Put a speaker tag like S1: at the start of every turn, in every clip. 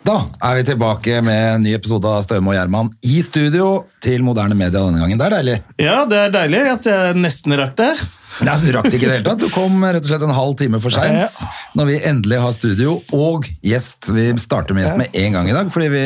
S1: Da er vi tilbake med en ny episode av Støme og Gjerman i studio til moderne media denne gangen. Det er deilig.
S2: Ja, det er deilig at jeg nesten rakk det. her.
S1: Nei, Du rakk det ikke i det hele tatt. Du kom rett og slett en halv time for seint når vi endelig har studio og gjest. Vi starter med gjest med en gang i dag, fordi vi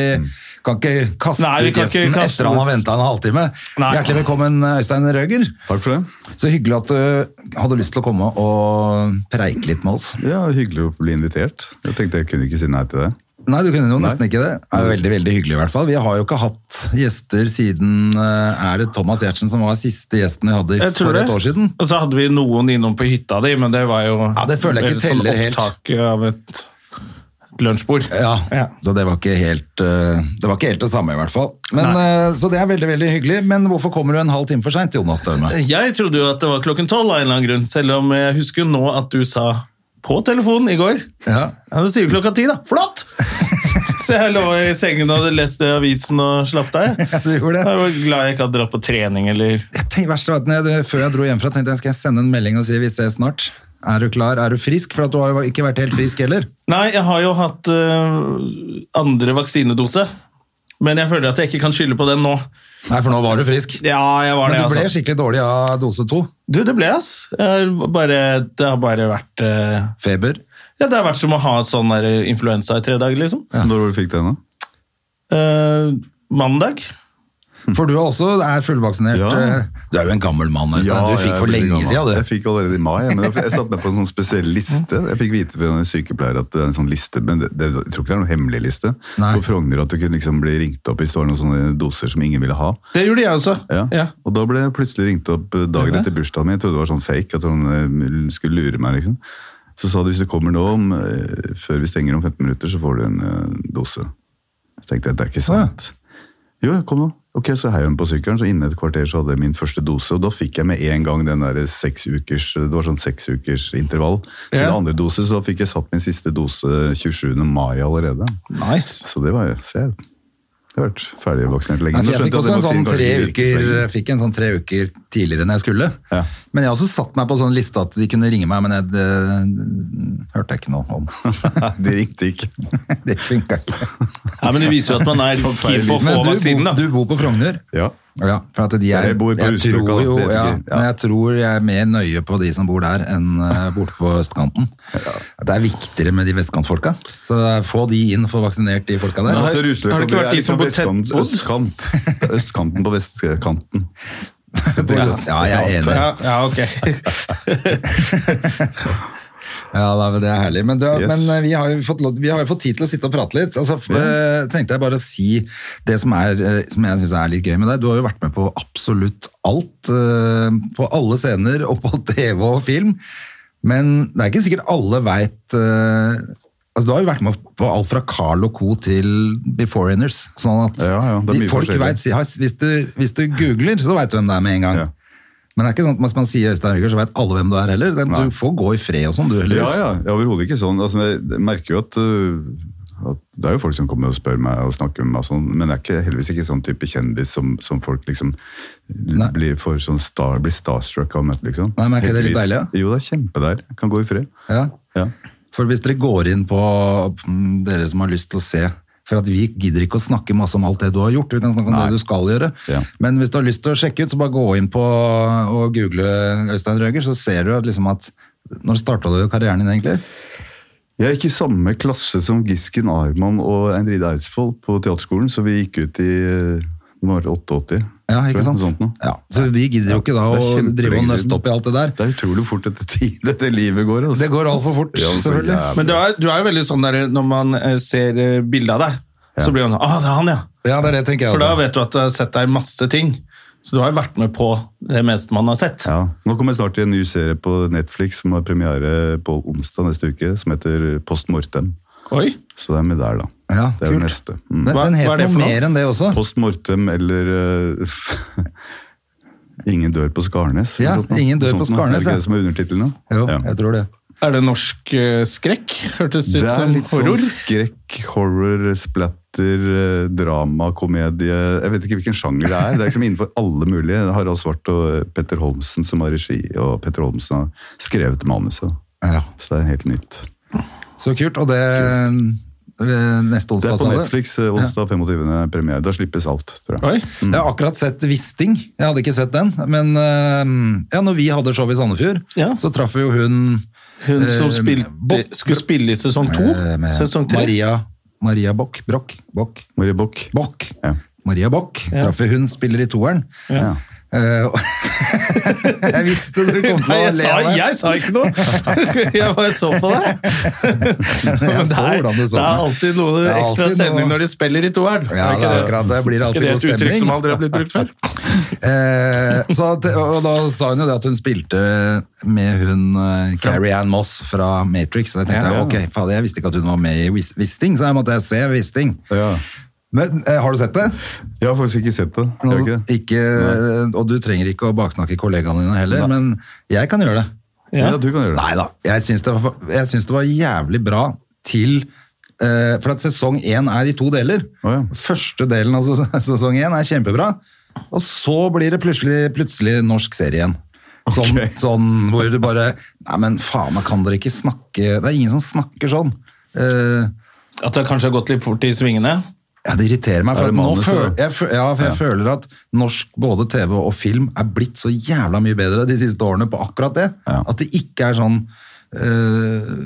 S1: kan ikke kaste
S2: Nei, vi
S1: ut
S2: kan ikke
S1: gjesten
S2: kaste
S1: etter han har venta en halvtime.
S2: Nei.
S1: Hjertelig velkommen, Øystein Røger.
S3: Takk for det.
S1: Så hyggelig at du hadde lyst til å komme og preike litt med oss.
S3: Ja, Hyggelig å bli invitert. Jeg tenkte jeg kunne ikke si nei til det.
S1: Nei, du kunne jo
S3: Nei.
S1: nesten ikke det. Det er jo veldig, veldig hyggelig i hvert fall. Vi har jo ikke hatt gjester siden eh, Er det Thomas Giertsen som var siste gjesten vi hadde i-
S2: Jeg tror
S1: for
S2: det.
S1: et år siden?
S2: Og så hadde vi noen innom på hytta di, men det var jo
S1: Ja, det føler jeg ikke
S2: et sånn
S1: teller helt.
S2: opptak av et, et lunsjbord.
S1: Ja,
S2: Ja.
S1: så det var, ikke helt, eh, det var ikke helt det samme i hvert fall. Men, eh, så det er veldig, veldig hyggelig. Men hvorfor kommer du en halv time for seint, Jonas Støme?
S2: Jeg trodde jo at det var klokken tolv av en eller annen grunn, selv om jeg husker jo nå at du sa på telefonen i går.
S1: Ja.
S2: Ja, det sier jo klokka ti, da. Flott! Så jeg lå i sengen og hadde lest avisen og slapp deg.
S1: Ja, du gjorde det.
S2: Jeg var glad jeg ikke hadde dratt på trening eller
S1: Jeg tenkte, verst var at når jeg, før jeg dro hjemmefra, tenkte jeg skal jeg sende en melding og si vi ses snart. Er du klar? Er du frisk? For at du har jo ikke vært helt frisk heller.
S2: Nei, jeg har jo hatt eh, andre vaksinedose, men jeg føler at jeg ikke kan skylde på den nå.
S1: Nei, for nå var du frisk.
S2: Ja, jeg var det,
S1: Men du ble
S2: altså.
S1: skikkelig dårlig av dose to.
S2: Du, det ble jeg, ass. Jeg har bare, det har bare vært eh,
S1: Feber.
S2: Ja, det har vært som å ha sånn der influensa i tre dager, liksom.
S3: Når var det du fikk den, da?
S2: Eh, mandag.
S1: For du er også er fullvaksinert.
S3: Ja.
S1: eh, Du er jo en gammel mann, Øystein. du
S3: jeg
S1: fikk
S3: er
S1: for
S3: veldig
S1: lenge
S3: gammel.
S1: siden,
S3: Jeg
S1: du.
S3: fikk allerede i mai, men jeg jeg satte meg på en sånn spesiell liste. Jeg fikk vite fra en sykepleier at det er en sånn liste, men det, det, jeg tror ikke det er noen hemmelig liste.
S1: Nei.
S3: På Frogner at du kunne liksom bli ringt opp hvis det var noen sånne doser som ingen ville ha.
S2: Det gjorde jeg også.
S3: Ja. Og da ble jeg plutselig ringt opp eh, dagen etter bursdagen min. Jeg trodde det var sånn fake, at han eh, skulle lure meg. liksom. Så sa de hvis du kommer nå, om, eh, før vi stenger om 15 minutter, så får du en eh, dose. Jeg tenkte at det er ikke sant. Jo, kom nå. Ok, Så heiv jeg meg på sykkelen, så innen et kvarter så hadde jeg min første dose. Og da fikk jeg med en gang den der seks ukers, det var sånn seks ukers intervall til
S2: Ja.
S3: andre dose, så da fikk jeg satt min siste dose 27. mai allerede.
S2: Nice.
S3: Så det var jo Se, jeg har vært ferdigvaksinert lenge.
S1: Nei, for
S3: Nå
S1: jeg
S3: skjønte
S1: fikk
S3: at
S1: også
S3: den
S1: en sånn
S3: vaksinen
S1: tre
S3: kanskje ikke virker
S1: uker,
S3: så lenge.
S1: fikk en sånn tre uker tidligere enn jeg skulle.
S3: Ja.
S1: Men jeg har også satt meg på sånn liste at de kunne ringe meg, men jeg, det hørte jeg ikke noe om.
S3: Det ringte ikke.
S1: det funka ikke.
S2: Ja, men det viser jo at man er keen på å få
S1: Men du, bor-
S2: vaksinen, da.
S1: du bor på Frogner?
S3: Ja.
S1: Ja, for at de er,
S3: Jeg bor på Husløkka,
S1: tror
S3: da,
S1: jo,
S3: det vet
S1: ja,
S3: jeg ikke. Ja.
S1: Men jeg tror jeg er mer nøye på de som bor der, enn eh, borte på østkanten. Det er viktigere med de vestkantfolka. Så det er- få de inn, få vaksinert de folka der.
S3: Men også Rusløkka,
S2: har det ikke
S3: det
S2: vært
S3: er
S2: de
S3: liksom
S2: som bor tett
S3: vestkant-
S2: på?
S3: Østkant. Det er Østkanten på vestkanten.
S1: Ja, jeg er enig.
S2: Ja, ja, ok.
S1: Ja, da, men det er herlig. Men, du,
S3: Yes.
S1: men eh, vi, har jo fått, lov- vi har jo fått tid til å sitte og prate litt. Altså, f- eh, tenkte jeg bare å si det som, er, eh, som jeg syns er litt gøy med deg. Du har jo vært med på absolutt alt. eh, På alle scener og på TV og film. Men det er ikke sikkert alle veit altså, Du har jo vært med på alt fra Carl og co. til Beforeigners. Sånn at
S3: Ja, ja, det er
S1: de,
S3: mye
S1: folk
S3: forskjellig.
S1: vet, hvis, du, hvis du googler, så veit du hvem det er med en gang.
S3: Ja.
S1: Men det er ikke sånn at hvis man sier Øystein Rygger, så veit alle hvem du er heller.
S3: Nei.
S1: Du får gå i fred og sånn, du heller.
S3: Ja, ja. jeg er Overhodet ikke sånn. Altså, jeg merker jo at, øh, at det er jo folk som kommer og spør meg og snakker med meg, og sånn, men jeg er ikke, heldigvis ikke sånn type kjendis som, som folk liksom
S1: Nei.
S3: blir, for sånn star, blir starstruck av. å møte, Liksom.
S1: Nei, men er ikke det litt
S3: Heldigvis.
S1: deilig, da?
S3: Jo, det er kjempedeilig. Jeg Kan gå i fred.
S1: Ja.
S3: Ja.
S1: For hvis dere går inn på mm, dere som har lyst til å se for at vi gidder ikke å snakke masse om alt det du har gjort, vi kan snakke om
S3: Nei.
S1: det du skal gjøre.
S3: Ja.
S1: Men hvis du har lyst til å sjekke ut, så bare gå inn på og google Øystein Røger, så ser du at liksom at når starta du karrieren din egentlig?
S3: Jeg gikk i samme klasse som Gisken Arman og Endride Eidsvoll på teaterskolen, så vi gikk ut i eh, det var 88.
S1: Ja,
S3: tror jeg,
S1: ikke sant?
S3: noe sånt nå.
S1: Ja. Så vi gidder jo ikke da
S3: Ja, det er
S1: å
S3: kjempelenge
S1: drive og nøste
S3: siden.
S1: opp i alt det der.
S3: Det er utrolig fort dette, tid, dette livet går. Altså.
S1: Det går altfor fort,
S3: Ja, så
S1: selvfølgelig.
S3: jævlig.
S2: Men du er, du er jo veldig sånn der når man eh, ser eh, bildet av deg, så blir man sånn Å, det er han, ja.
S1: Ja, det er det tenker jeg altså.
S2: For da
S1: også.
S2: vet du at du har sett deg i masse ting. Så du har jo vært med på det meste man har sett.
S3: Ja. Nå kommer jeg snart til en ny serie på Netflix som har premiere på onsdag neste uke, som heter Post Mortem.
S2: Oi.
S3: Så det er med der, da.
S1: Ja,
S3: Det er det
S1: kult.
S3: neste. Mm.
S1: Den,
S2: Hva-
S1: den
S2: hva er
S1: het
S2: det for
S1: noe
S2: noe?
S1: mer enn det også.
S3: Post mortem eller eh, Ingen dør på Skarnes. eller
S1: Ja,
S3: sånt noe.
S1: ingen dør
S3: Sånt
S1: på
S3: noe.
S1: Skarnes,
S3: Er det
S1: ja.
S3: ikke det som er undertittelen nå?
S1: Jo,
S3: Ja.
S1: jeg tror det.
S2: Er det norsk eh, skrekk? Hørtes ut
S3: Det er
S2: som
S3: litt
S2: horror.
S3: sånn skrekk, horror, splatter, eh, drama, komedie Jeg vet ikke hvilken sjanger det er. Det er liksom innenfor alle mulige. Harald Svart og Petter Holmsen som har regi, og Petter Holmsen har skrevet manuset.
S1: Ja.
S3: Så det er helt nytt.
S1: Så kult, og det eh, neste onsdag,
S3: Det er på
S1: sa du?
S3: Netflix eh, onsdag 25. premiere. Da slippes alt, tror jeg.
S2: Oi,
S1: Jeg har akkurat sett Visting. Jeg hadde ikke sett den. Men eh, ja, når vi hadde show i Sandefjord,
S2: Ja.
S1: så traff vi jo hun,
S2: Hun som
S1: Eh,
S2: spilte,
S1: Bob-
S2: skulle spille i sesong to?
S1: eh, med
S2: Sesong tre?
S1: Maria, Maria Bock. Broch. Bock.
S3: Marie Bock.
S1: Bock.
S3: Ja.
S1: Maria Bock. Traff vi hun, spiller i toeren.
S3: Ja.
S1: Eh, og- jeg visste du kom til å
S2: Nei, jeg
S1: le
S2: sa,
S1: av det.
S2: jeg sa ikke noe! Jeg bare så på deg. Men det,
S1: så
S2: er,
S1: hvordan du så
S2: det er
S1: meg.
S2: alltid noe
S1: Det er
S2: ekstra
S1: alltid
S2: stemning
S1: noe-
S2: når de spiller i toeren.
S1: Ja, det
S2: Er ikke
S1: er akkurat det. Blir
S2: ikke
S1: alltid
S2: det
S1: god
S2: et uttrykk som
S1: stemning.
S2: aldri har blitt brukt før?
S1: Eh, så at, og da sa hun jo det at hun spilte med hun eh, Carrie Ann Moss fra Matrix. Og jeg tenkte
S3: Ja, ja.
S1: ok, fader, jeg visste ikke at hun var med i Wis- Wisting, så jeg måtte jeg se Wisting.
S3: Ja.
S1: Men eh, har du sett det?
S3: Jeg har faktisk ikke sett det. Jeg har ikke det.
S1: Ikke, eh, og du trenger ikke å baksnakke kollegaene dine heller,
S3: Nei.
S1: men jeg kan gjøre det.
S3: Ja, du kan gjøre det.
S1: Nei da. Jeg syns det, var- jeg syns det var jævlig bra til eh, For at sesong én er i to deler.
S3: Å ja.
S1: Første delen av ses- sesong én er kjempebra, og så blir det plutselig, plutselig norsk serie igjen. Sånn,
S3: Ok.
S1: sånn hvor du bare Nei, men faen meg, kan dere ikke snakke Det er ingen som snakker sånn. Eh,
S2: At det kanskje har gått litt fort i svingene?
S1: ja, Det irriterer meg,
S3: Er
S1: for,
S3: det
S1: at nå
S3: manuset,
S1: føl
S3: da?
S1: jeg, fø- ja, for jeg føler at norsk både TV og film er blitt så jævla mye bedre de siste årene på akkurat det.
S3: Ja.
S1: At det ikke er sånn øh,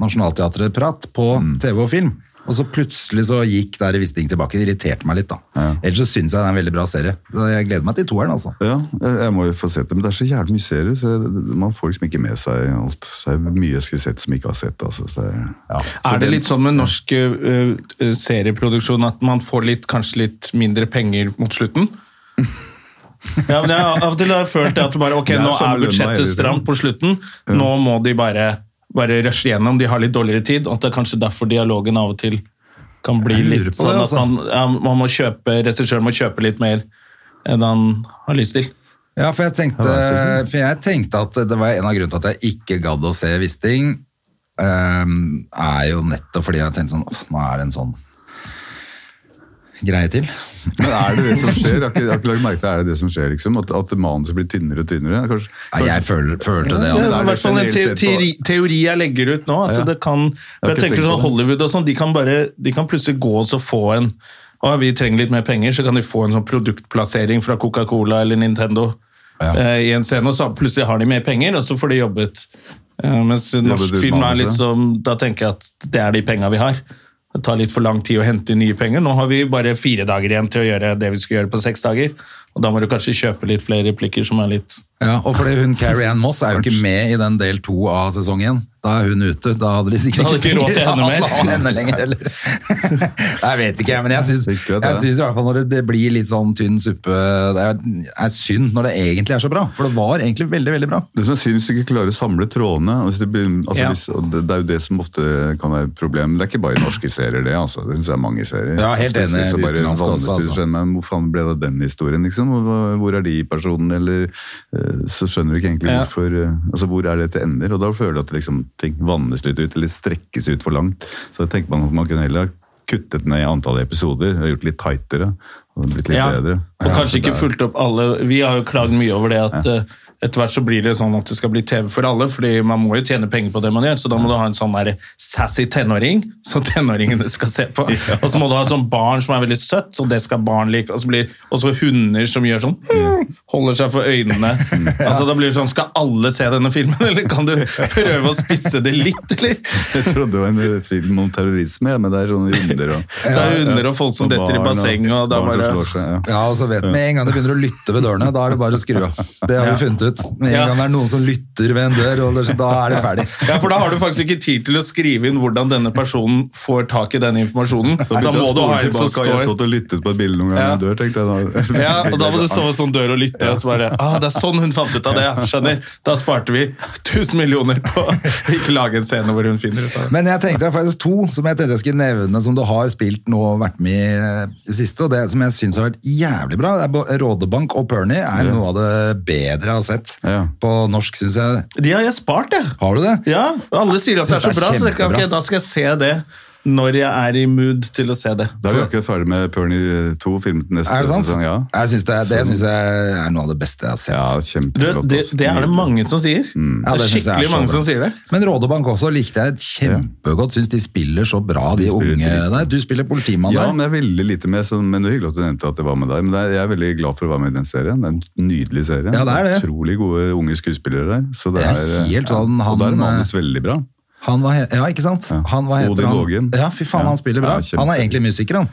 S1: nasjonalteatret-prat på
S3: Mm.
S1: TV og film. Og så plutselig så gikk der i Wisting tilbake. Det irriterte meg litt, da. Ellers så syns jeg det er en veldig bra serie. Så Jeg gleder meg til toeren, altså.
S3: Ja, jeg jeg må jo få sett det, men det er så jævlig mye serier, så jeg- man får liksom ikke med seg alt. Så det er mye jeg skulle sett som jeg ikke har sett. Altså. Så det er, Så
S2: Er det
S3: den-
S2: litt sånn med norsk ø, ø, serieproduksjon at man får litt, kanskje litt mindre penger mot slutten? Ja, men jeg har av og til har jeg følt det at bare, ok,
S3: Det er
S2: nå
S3: samme
S2: er
S3: lønna hele
S2: budsjettet
S3: tiden.
S2: stramt på slutten, nå må de bare, bare rushe gjennom, de har litt dårligere tid, og at det er kanskje derfor dialogen av og til kan bli
S1: Jeg lurer
S2: litt
S1: på det,
S2: sånn at
S1: altså.
S2: man, ja, man må kjøpe, regissøren må kjøpe litt mer enn han har lyst til.
S1: Ja, for jeg tenkte, for jeg tenkte at det var en av grunnene til at jeg ikke gadd å se Wisting. ehm, er jo nettopp fordi jeg tenkte sånn «Åh, Nå er det en sånn greie til.
S3: Men er det det som skjer? Jeg har ikke, jeg har ikke lagt merke til er det det som skjer, liksom? At, at manuset blir tynnere og tynnere? Kanskje,
S1: Nei, jeg føler, følte det.
S2: Det
S1: Altså.
S2: er i
S3: det
S2: hvert fall en te
S3: generelt sett på-
S2: teori, teori jeg legger ut nå. At
S3: Ja.
S2: det kan,
S3: Jeg
S2: for
S3: har
S2: jeg
S3: ikke
S2: tenker
S3: tenkt på
S2: sånn
S3: det.
S2: Hollywood og sånn, de kan bare de kan plutselig gå og så få en å, vi trenger litt mer penger, så kan de få en sånn produktplassering fra Coca-Cola eller Nintendo eh, i en scene, og så plutselig har de mer penger, og så får de jobbet. Eh, mens norsk
S3: ut
S2: film er
S3: manuset.
S2: litt som Da tenker jeg at det er de penga vi har. Det tar litt for lang tid å hente inn nye penger. Nå har vi bare fire dager igjen til å gjøre det vi skulle gjøre på seks dager. Og da må du kanskje kjøpe litt flere replikker som er litt
S1: Ja, og fordi hun Carrie Ann Moss er jo ikke med i den del to av sesongen. Da er hun ute. Da hadde de sikkert
S2: Da hadde ikke råd til
S1: penger
S2: henne mer.
S1: å ha henne lenger heller. jeg vet ikke, men jeg syns, jeg
S3: Sikkert, ja.
S1: syns i hvert fall når det, det blir litt sånn tynn suppe Det er, er synd når det egentlig er så bra, for det var egentlig veldig, veldig bra.
S3: Det som er synd hvis du ikke klarer å samle trådene. og Hvis det, blir, altså
S2: Ja.
S3: hvis, og det, det er jo det som ofte kan være et problem. Det er ikke bare i norske serier, det. altså. Det synes jeg er mange serier.
S1: Ja, helt enig,
S3: Plutselig Så bare
S1: utenlandske også,
S3: vannes du,
S1: altså.
S3: skjønner meg, Hvor faen ble det av den historien, liksom? Og hva- Hvor er de personene, eller eh, Så skjønner du ikke egentlig
S2: Ja.
S3: hvorfor eh, Altså, hvor er det til ender? Og da føler du at liksom, ting vannes litt ut, eller strekkes ut for langt. Så da tenker man at man kunne heller ha kuttet ned antallet episoder, og gjort litt tightere. Og blitt litt bedre.
S2: Og kanskje ikke fulgt opp alle Vi har jo klagd mye over det at eh, etter hvert så blir det sånn at det skal bli TV for alle, fordi man må jo tjene penger på det man gjør, så da må du ha en sånn der sassy tenåring som tenåringene skal se på. Og så må du ha et sånt barn som er veldig søtt, og det skal barn like. Og så blir og så hunder som gjør sånn Holder seg for øynene. Altså Da blir det sånn Skal alle se denne filmen, eller kan du prøve å spisse det litt, eller?
S3: Jeg trodde det var en eh, film om terrorisme, ja, men det er sånne hunder og
S2: Det er hunder og folk som
S3: Og
S2: detter i
S3: barn og-
S2: basseng, og da
S3: barn som
S2: bare
S1: ja.
S3: år siden. Ja.
S1: Ja, og så vet Med en gang de begynner å lytte ved dørene, da er det bare å skru av. Det har
S2: Ja.
S1: vi funnet ut. Med en
S2: Ja.
S1: gang det er noen som lytter ved en dør, og det, da er det ferdig.
S2: Ja, for Da har du faktisk ikke tid til å skrive inn hvordan denne personen får tak i den informasjonen. Så da må du ha en som
S3: Tilbake, Jeg har
S2: står
S3: stått og lyttet på et bilde noen ganger
S2: Ja.
S3: i dør, tenkte jeg da.
S2: ja, og Da må du sove sånn dør og lytte, og så bare ah, 'Det er sånn hun fant ut av det', ja. Skjønner. Da sparte vi 1000 millioner på å ikke lage en scene hvor hun finner ut av det.
S1: Men jeg tenkte jeg har faktisk to som jeg tenkte jeg skulle nevne som du har spilt nå og vært med i eh, det siste, og det som jeg syns har vært jævlig bra. Det er bo- Rådebank og Pernie er noe av det bedre jeg har sett
S3: Ja.
S1: på norsk, syns jeg.
S2: De har jeg spart, jeg.
S1: Har du det?
S2: Ja, alle sier at det er så
S1: Det er
S2: bra, så det kan,
S1: kjempebra.
S2: ok, da skal jeg se det når jeg er i mood til å se det.
S3: Da er vi akkurat ferdig med Pernie 2, filmet neste
S1: Er det sant?
S3: sesong. Ja,
S1: Jeg synes det, er- det syns jeg er noe av det beste jeg har sett.
S3: ja
S2: Du,
S3: kjempeflott.
S2: det,
S3: altså.
S2: det er det mange som sier.
S1: Mm. Ja,
S2: det er
S1: det synes jeg er
S2: skikkelig
S1: så
S2: mange
S1: bra.
S2: som sier det.
S1: Men Rådebank også likte jeg kjempegodt. Syns de spiller så bra, de,
S3: spiller
S1: unge
S3: dritt.
S1: der. Du spiller politimann
S3: Ja,
S1: der.
S3: men jeg er veldig lite med, så, men det er hyggelig at du nevnte at jeg var med der. Men det er, jeg er veldig glad for å være med i den serien. Det er en nydelig serie.
S1: Ja, det er det.
S3: Utrolig gode unge skuespillere der. Så det
S1: Det
S3: er,
S1: er helt
S3: ja,
S1: sånn, han-
S3: og da er manus
S2: eh,
S3: veldig bra.
S1: Han var, he- ja, ikke sant?
S3: Ja.
S1: Han var heter
S3: Odin
S1: han.
S3: Vågen.
S1: Ja, fy faen,
S3: Ja.
S1: han spiller bra.
S3: Ja, kjempe-
S1: han er egentlig musiker, han.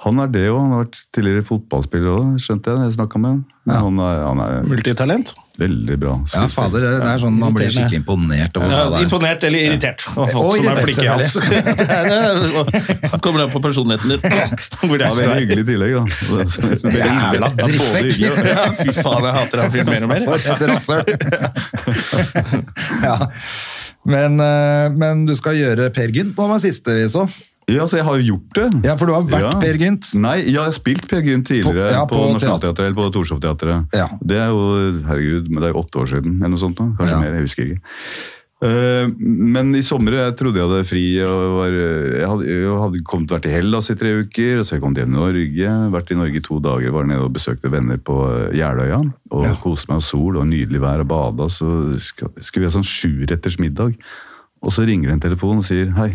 S3: Han er det jo. Han har vært tidligere fotballspiller òg, skjønte jeg. da jeg snakket med han. Han, er, han er
S2: Multitalent.
S3: veldig bra.
S1: Ja, fader, det er sånn man blir skikkelig imponert over
S2: Ja,
S1: hva det er.
S2: imponert eller irritert av folk
S1: Og
S2: som er
S1: irritert,
S2: flinke i alt. Det Kommer an på personligheten din.
S3: Ja,
S2: Hvor jeg
S3: veldig
S2: står.
S3: hyggelig i tillegg, da.
S1: Jævla
S3: Veldig hyggelig. Ja, både
S1: drittsekk.
S3: hyggelig og-
S2: Ja, fy faen, jeg hater han fyren mer og mer.
S1: For et rasshøl! ja. men, eh, men du skal gjøre Per Gynt nå, var siste vi så.
S3: Ja, så jeg har jo gjort det.
S1: Ja, for du har vært Peer Gynt.
S3: Nei, ja, jeg har spilt Per Gynt tidligere
S1: På-
S3: på,
S1: ja,
S3: på
S1: på
S3: Nationaltheatret eller på Torshov-teatret.
S1: Ja.
S3: Det er jo, herregud, men det er jo åtte år siden eller noe sånt nå. Kanskje
S1: Ja.
S3: mer, jeg husker ikke. Eh, men i sommer jeg trodde jeg hadde fri og var, jeg hadde, jeg hadde kommet, vært i Hellas i tre uker, og så har jeg kommet hjem til Norge, vært i Norge i to dager, var nede og besøkte venner på Gjerløya, og koste meg av sol og nydelig vær og bada, så skal, skulle vi ha sånn sju retters middag, og så ringer det en telefon og sier, hei,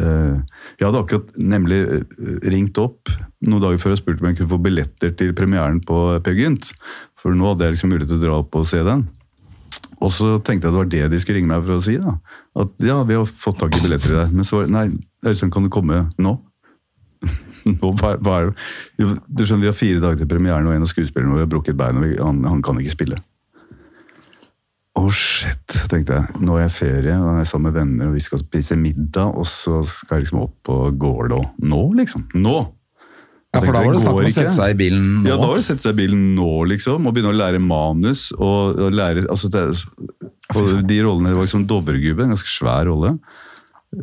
S3: eh, jeg hadde akkurat nemlig eh, ringt opp noen dager før og spurt om jeg kunne få billetter til premieren på Per Gynt, for nå hadde jeg liksom mulighet til å dra opp og se den. Og så tenkte jeg det var det de skulle ringe meg for å si. da. At ja, vi har fått tak i billetter i deg. Men så var det nei, Øystein, kan du komme nå? nå hva, hva er det? Jo, du skjønner, vi har fire dager til premieren, og en av skuespillerne våre har brukket bein, og vi, han, han kan ikke spille. Å, shit, tenkte jeg. Nå er jeg ferie, og jeg er sammen med venner, og vi skal spise middag, og så skal jeg liksom opp på Gårdå. Nå, liksom. Nå!
S1: Ja, for da
S3: tenkte,
S1: var det snakk om
S3: går
S1: å
S3: ikke.
S1: sette seg i bilen nå.
S3: Ja, da var det å sette seg i bilen nå, liksom, og begynne å lære manus. Og, og lære, altså det, er- og De rollene det var liksom Dovregubbe, en ganske svær rolle.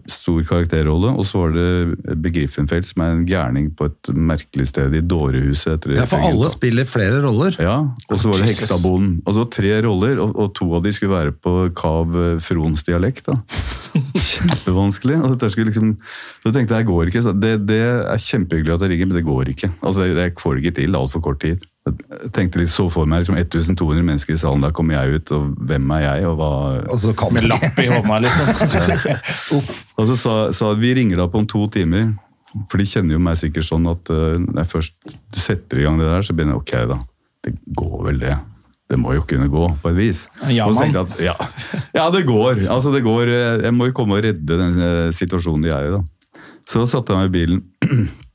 S3: Stor karakterrolle. Og så var det Begriffenfeld, som er en gærning på et merkelig sted i Dårehuset. etter-
S1: Ja, for alle spiller flere roller.
S3: ja, og så var det
S2: Jesus.
S3: Heksabonden. Altså tre roller, og, og to av de skulle være på Kav eh, Frons dialekt. da. Kjempevanskelig. Og dette skulle liksom, så tenkte jeg, jeg går ikke. Så det, det er kjempehyggelig at jeg ringer, men det går ikke. Altså, Jeg, jeg får det ikke til, det er altfor kort tid. Jeg tenkte litt, så for meg liksom 1200 mennesker i salen, da kommer jeg ut, og hvem er jeg, og hva
S1: Og så kan
S2: Med lapp i hånda, liksom.
S3: Og så sa, sa at vi ringer da på om to timer, for de kjenner jo meg sikkert sånn at eh, når jeg først setter i gang det der, så begynner jeg, ok da, det går vel det. Det må jo kunne gå, på et vis.
S2: Ja,
S3: og så
S2: mann.
S3: tenkte jeg at, ja, ja, det går. Altså, det går. eh, Jeg må jo komme og redde den eh, situasjonen de er i, da. Så satte jeg meg i bilen.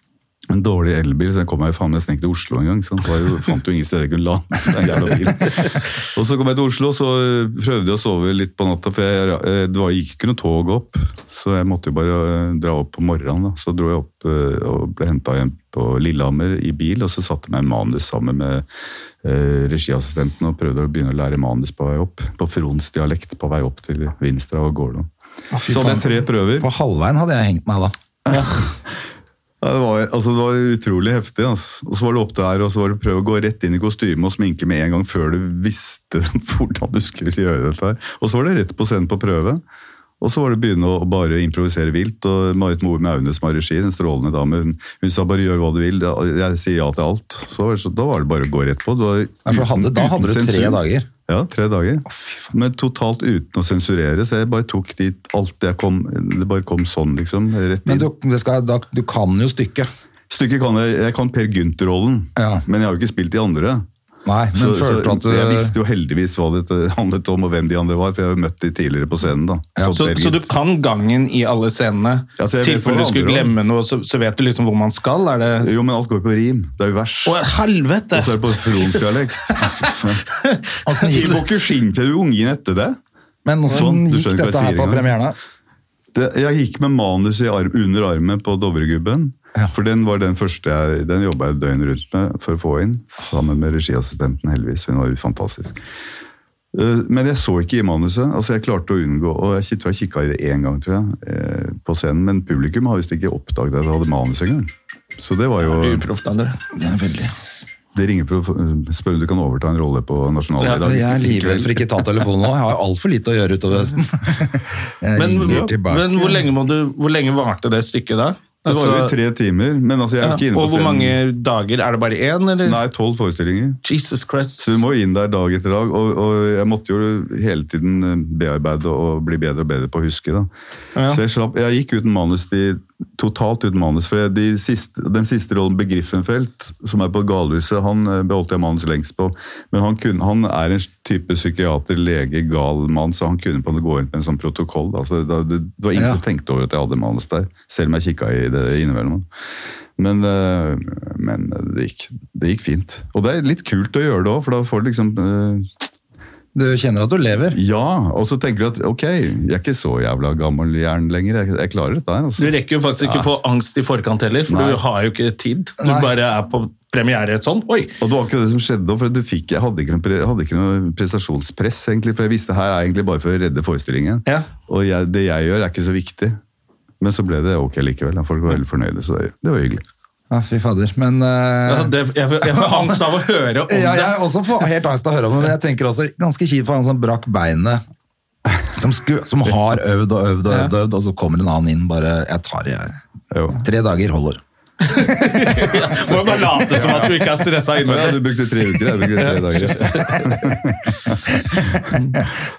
S3: En dårlig elbil, så jeg kom meg jo faen meg snek til Oslo en gang. Så det var jo, fant jo ingen steder jeg kunne lande den jævla bilen. Og så kom jeg til Oslo, så eh, prøvde jeg å sove litt på natta, for jeg, eh, det var, gikk ikke noe tog opp. Så jeg måtte jo bare eh, dra opp på morgenen. Da. Så dro jeg opp eh, og ble henta hjem på Lillehammer i bil, og så satte jeg meg manus sammen med eh, regiassistenten og prøvde å begynne å lære manus på vei opp. På Frons dialekt på vei opp til Vinstra og Gårdå. Så hadde jeg tre prøver.
S1: På halvveien hadde jeg hengt meg da.
S3: Ja, det, var, altså, det var utrolig heftig. Altså. Og så var det opp der, og så var det prøve å gå rett inn i kostyme og sminke med en gang før du visste hvordan du skulle gjøre dette. her. Og så var det rett på scenen på prøve. Og så var det begynne å bare improvisere vilt. og Marit Moe med Aune som har regi, den strålende dame, hun, hun sa bare 'gjør hva du vil', jeg jeg sier ja til alt. Så, var det så Da var det bare å gå rett på. Det var
S1: Ja, for hadde- da hadde du tre
S3: sensur.
S1: dager.
S3: Ja, tre dager. Men totalt uten å sensurere, så jeg bare tok dit alt jeg kom Det bare kom sånn, liksom. Rett inn.
S1: Men du, det skal, da, du kan jo stykket.
S3: Stykket kan jeg, jeg kan Per Gynt-rollen,
S1: Ja.
S3: men jeg har jo ikke spilt de andre.
S1: Nei, men
S3: Så, så
S1: følte du at eh, du
S3: jeg visste jo heldigvis hva det handlet om, og hvem de andre var, for jeg har jo møtt de tidligere på scenen. da.
S2: Så,
S3: Bergit.
S2: så du kan gangen i alle scenene? I
S3: Altså, jeg vet
S2: tilfelle
S3: hva
S2: du
S3: det
S2: skulle
S3: handler om.
S2: glemme noe, så, så vet du liksom hvor man skal? Er det
S3: Jo, men alt går på rim. Det er jo vers.
S2: Å, helvete!
S3: Og så er det på frondialekt.
S1: Åssen
S3: De
S1: gikk,
S3: må ikke skinne til ungen etter det.
S1: men hvordan
S3: Sånn, du
S1: gikk
S3: skjønner ikke hva
S1: dette her
S3: jeg sier
S1: på
S3: engang.
S1: premieren? da?
S3: det jeg gikk med manus i arm, under armen på Dovregubben. For den var den første jeg Den jobba jeg døgnet rundt med for å få inn. Sammen med regiassistenten, heldigvis. Hun var jo fantastisk. Eh, Men jeg så ikke i manuset. altså Jeg klarte å unngå og Jeg kik- tror jeg kikka i det én gang tror jeg, eh, på scenen, men publikum har visst ikke oppdaget at jeg hadde manus engang. Så det var jo
S2: Uproft, André.
S3: Det ringer for å få- eh, spørre om du kan overta en rolle på Nasjonaldagen i dag.
S1: Jeg er livredd for ikke å ta telefonen nå. Jeg har altfor lite å gjøre utover høsten. Jeg
S2: Men,
S1: ringer tilbake.
S2: men hvor, lenge må du, hvor lenge varte det stykket da?
S3: Det var jo i
S2: Altså,
S3: tre timer, men altså jeg er jo ikke
S2: ja.
S3: inne på
S2: Og hvor
S3: scenen.
S2: mange dager? Er det bare én, eller?
S3: Nei, tolv forestillinger.
S2: Jesus Christ.
S3: Så du må inn der dag etter dag, og, og jeg måtte jo hele tiden eh, bearbeide og bli bedre og bedre på å huske. Da.
S2: Ja.
S3: Så jeg, slapp, jeg gikk uten manus, de, totalt uten manus. For jeg, de siste, den siste rollen, Begriffenfelt, som er på Galhuset, han eh, beholdt jeg manus lengst på. Men han, kunne, han er en type psykiater, lege, gal mann, så han kunne på en måte gå inn på en sånn protokoll. Da. Så det, det, det var ingen
S1: Ja.
S3: som tenkte over at jeg hadde manus der, selv om jeg kikka i det innimellom. Men, eh, men det, gikk, det gikk fint. Og det er litt kult å gjøre det òg, for da får du liksom eh,
S1: Du kjenner at du lever.
S3: Ja! Og så tenker du at ok, jeg er ikke så jævla gammel jern lenger. Jeg, jeg klarer dette her.
S2: Du
S3: Altså.
S2: rekker jo faktisk ikke å få angst i forkant heller, for
S3: Nei.
S2: du har jo ikke tid. Du
S1: Nei.
S2: bare er på premiere sånn. Oi!
S3: Og det var akkurat det som skjedde òg, for du fikk, jeg hadde ikke, noe, pre- jeg hadde ikke noe prestasjonspress, egentlig. For jeg visste her er egentlig bare for å redde forestillingen.
S2: Ja.
S3: Og jeg, det jeg gjør, er ikke så viktig. Men så ble det ok likevel. da. Folk var veldig fornøyde, så det, det var hyggelig.
S1: Ja, fy fader. Men eh,
S2: Ja, det, jeg får jeg får angst av å høre om
S1: ja,
S2: det.
S1: jeg er også får helt angst av å høre om det, men jeg tenker også ganske kjipt for han som brakk beinet. Som, sku, som har øvd og øvd og øvd, og øvd, og så kommer en annen inn bare Jeg tar det, jeg.
S3: Jo.
S1: Tre dager holder.
S2: Må jo bare late som at du ikke er stressa
S3: Å
S2: inni
S3: Ja,
S2: det.
S3: du brukte tre uker, jeg brukte tre dager.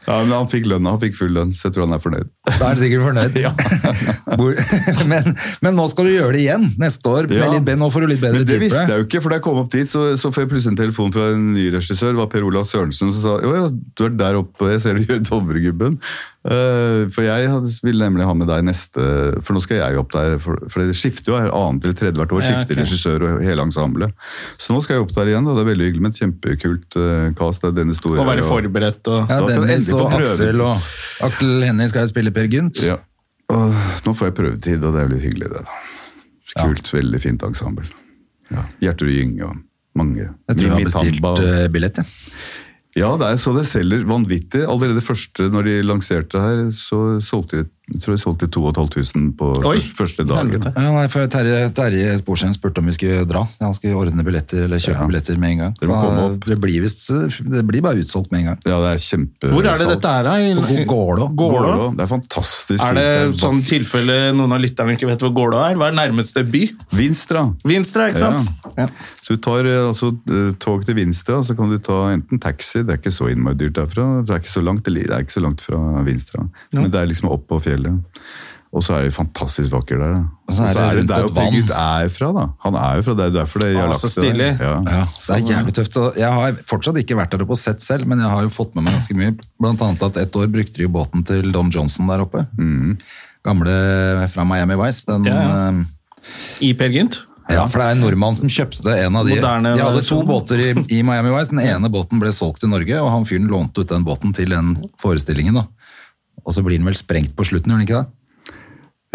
S3: Ja, men han fikk lønna, han fikk full lønn, så jeg tror han er fornøyd.
S1: Da er du sikkert fornøyd. Hvor- men, men nå skal du gjøre det igjen neste år. Med
S3: Ja.
S1: litt, be- nå får du litt bedre
S3: Men det
S1: tid
S3: visste
S1: på det.
S3: jeg jo ikke, for da jeg kom opp dit, så, så får jeg plutselig en telefon fra en ny regissør, det var Per Olav Sørensen, som sa jo, ja, du er der oppe, jeg ser du gjør Dovregubben. Eh, for jeg hadde, ville nemlig ha med deg neste, for nå skal jeg jo opp der, for, for det skifter jo her annet eller tredje hvert år,
S2: Ja,
S3: skifter
S2: ok.
S3: regissør og hele ensemblet. Så nå skal jeg opp der igjen, da. det er veldig hyggelig med et kjempekult eh, cast, det er denne store.
S2: Å være forberedt og
S1: Ja,
S3: Da kan du
S1: Dennis
S3: endelig få
S1: og
S3: prøve.
S1: Aksel og Aksel Hennie skal jo spille Per Gynt.
S3: Ja. Og nå får jeg prøvetid, og det er jo litt hyggelig det da. Kult, veldig fint ensemble. Ja. Gjertrud Gynge og mange.
S1: Jeg tror jeg har
S3: Mimmi Tamba
S1: bestilt
S3: og-
S1: eh, billett, jeg.
S3: Ja, det er, så det selger vanvittig. Allerede det første, når de lanserte det her, så solgte de, jeg tror jeg solgte de 2500 på
S2: Oi,
S3: første, første dagen.
S2: helvete.
S1: Ja, nei, for Terje, Terje Sporsheim spurte om vi skulle dra. Han skulle ordne billetter eller kjøpe
S3: Ja.
S1: billetter med en gang.
S3: Dere må
S1: Da-
S3: komme opp.
S1: Det blir, visst, det blir bare utsolgt med en gang.
S3: Ja, det er kjempe...
S2: Hvor er det dette her, da? I-
S1: På Gålå.
S2: Gålå?
S3: Det er fantastisk. fint.
S2: Er det
S3: er
S2: sånn tilfelle noen av lytterne ikke vet hvor Gålå er? Hva er nærmeste by?
S3: Vinstra.
S2: Vinstra, ikke sant?
S3: Ja. Så du tar eh, altså, eh, tog til Vinstra, så kan du ta enten taxi, det er ikke så innmari dyrt derfra, det er ikke så langt, det er ikke så langt fra Vinstra, men det er liksom opp på fjellet. Og så er det fantastisk vakker der. da. Og
S1: så er det rundt
S3: der
S1: et
S3: oppe
S1: vann.
S3: Gud er fra, da. Han er jo fra der, det er derfor det jeg har
S2: Ah,
S3: lagt
S2: så
S3: det der.
S2: stilig.
S3: Ja.
S1: Ja, det er jævlig tøft. og Jeg har fortsatt ikke vært der oppe og sett selv, men jeg har jo fått med meg ganske mye. Blant annet at ett år brukte de jo båten til Dom Johnson der oppe. Gamle fra Miami Vice. Den,
S2: Ja, ja.
S1: eh,
S2: I Per Gynt?
S1: Ja, for det er en nordmann som kjøpte en av de.
S2: Moderne
S1: de hadde to
S2: versjon.
S1: båter i, i Miami Vice. Den ene båten ble solgt til Norge, og han fyren lånte ut den båten til den forestillingen. da. Og så blir den vel sprengt på slutten, gjør den ikke det?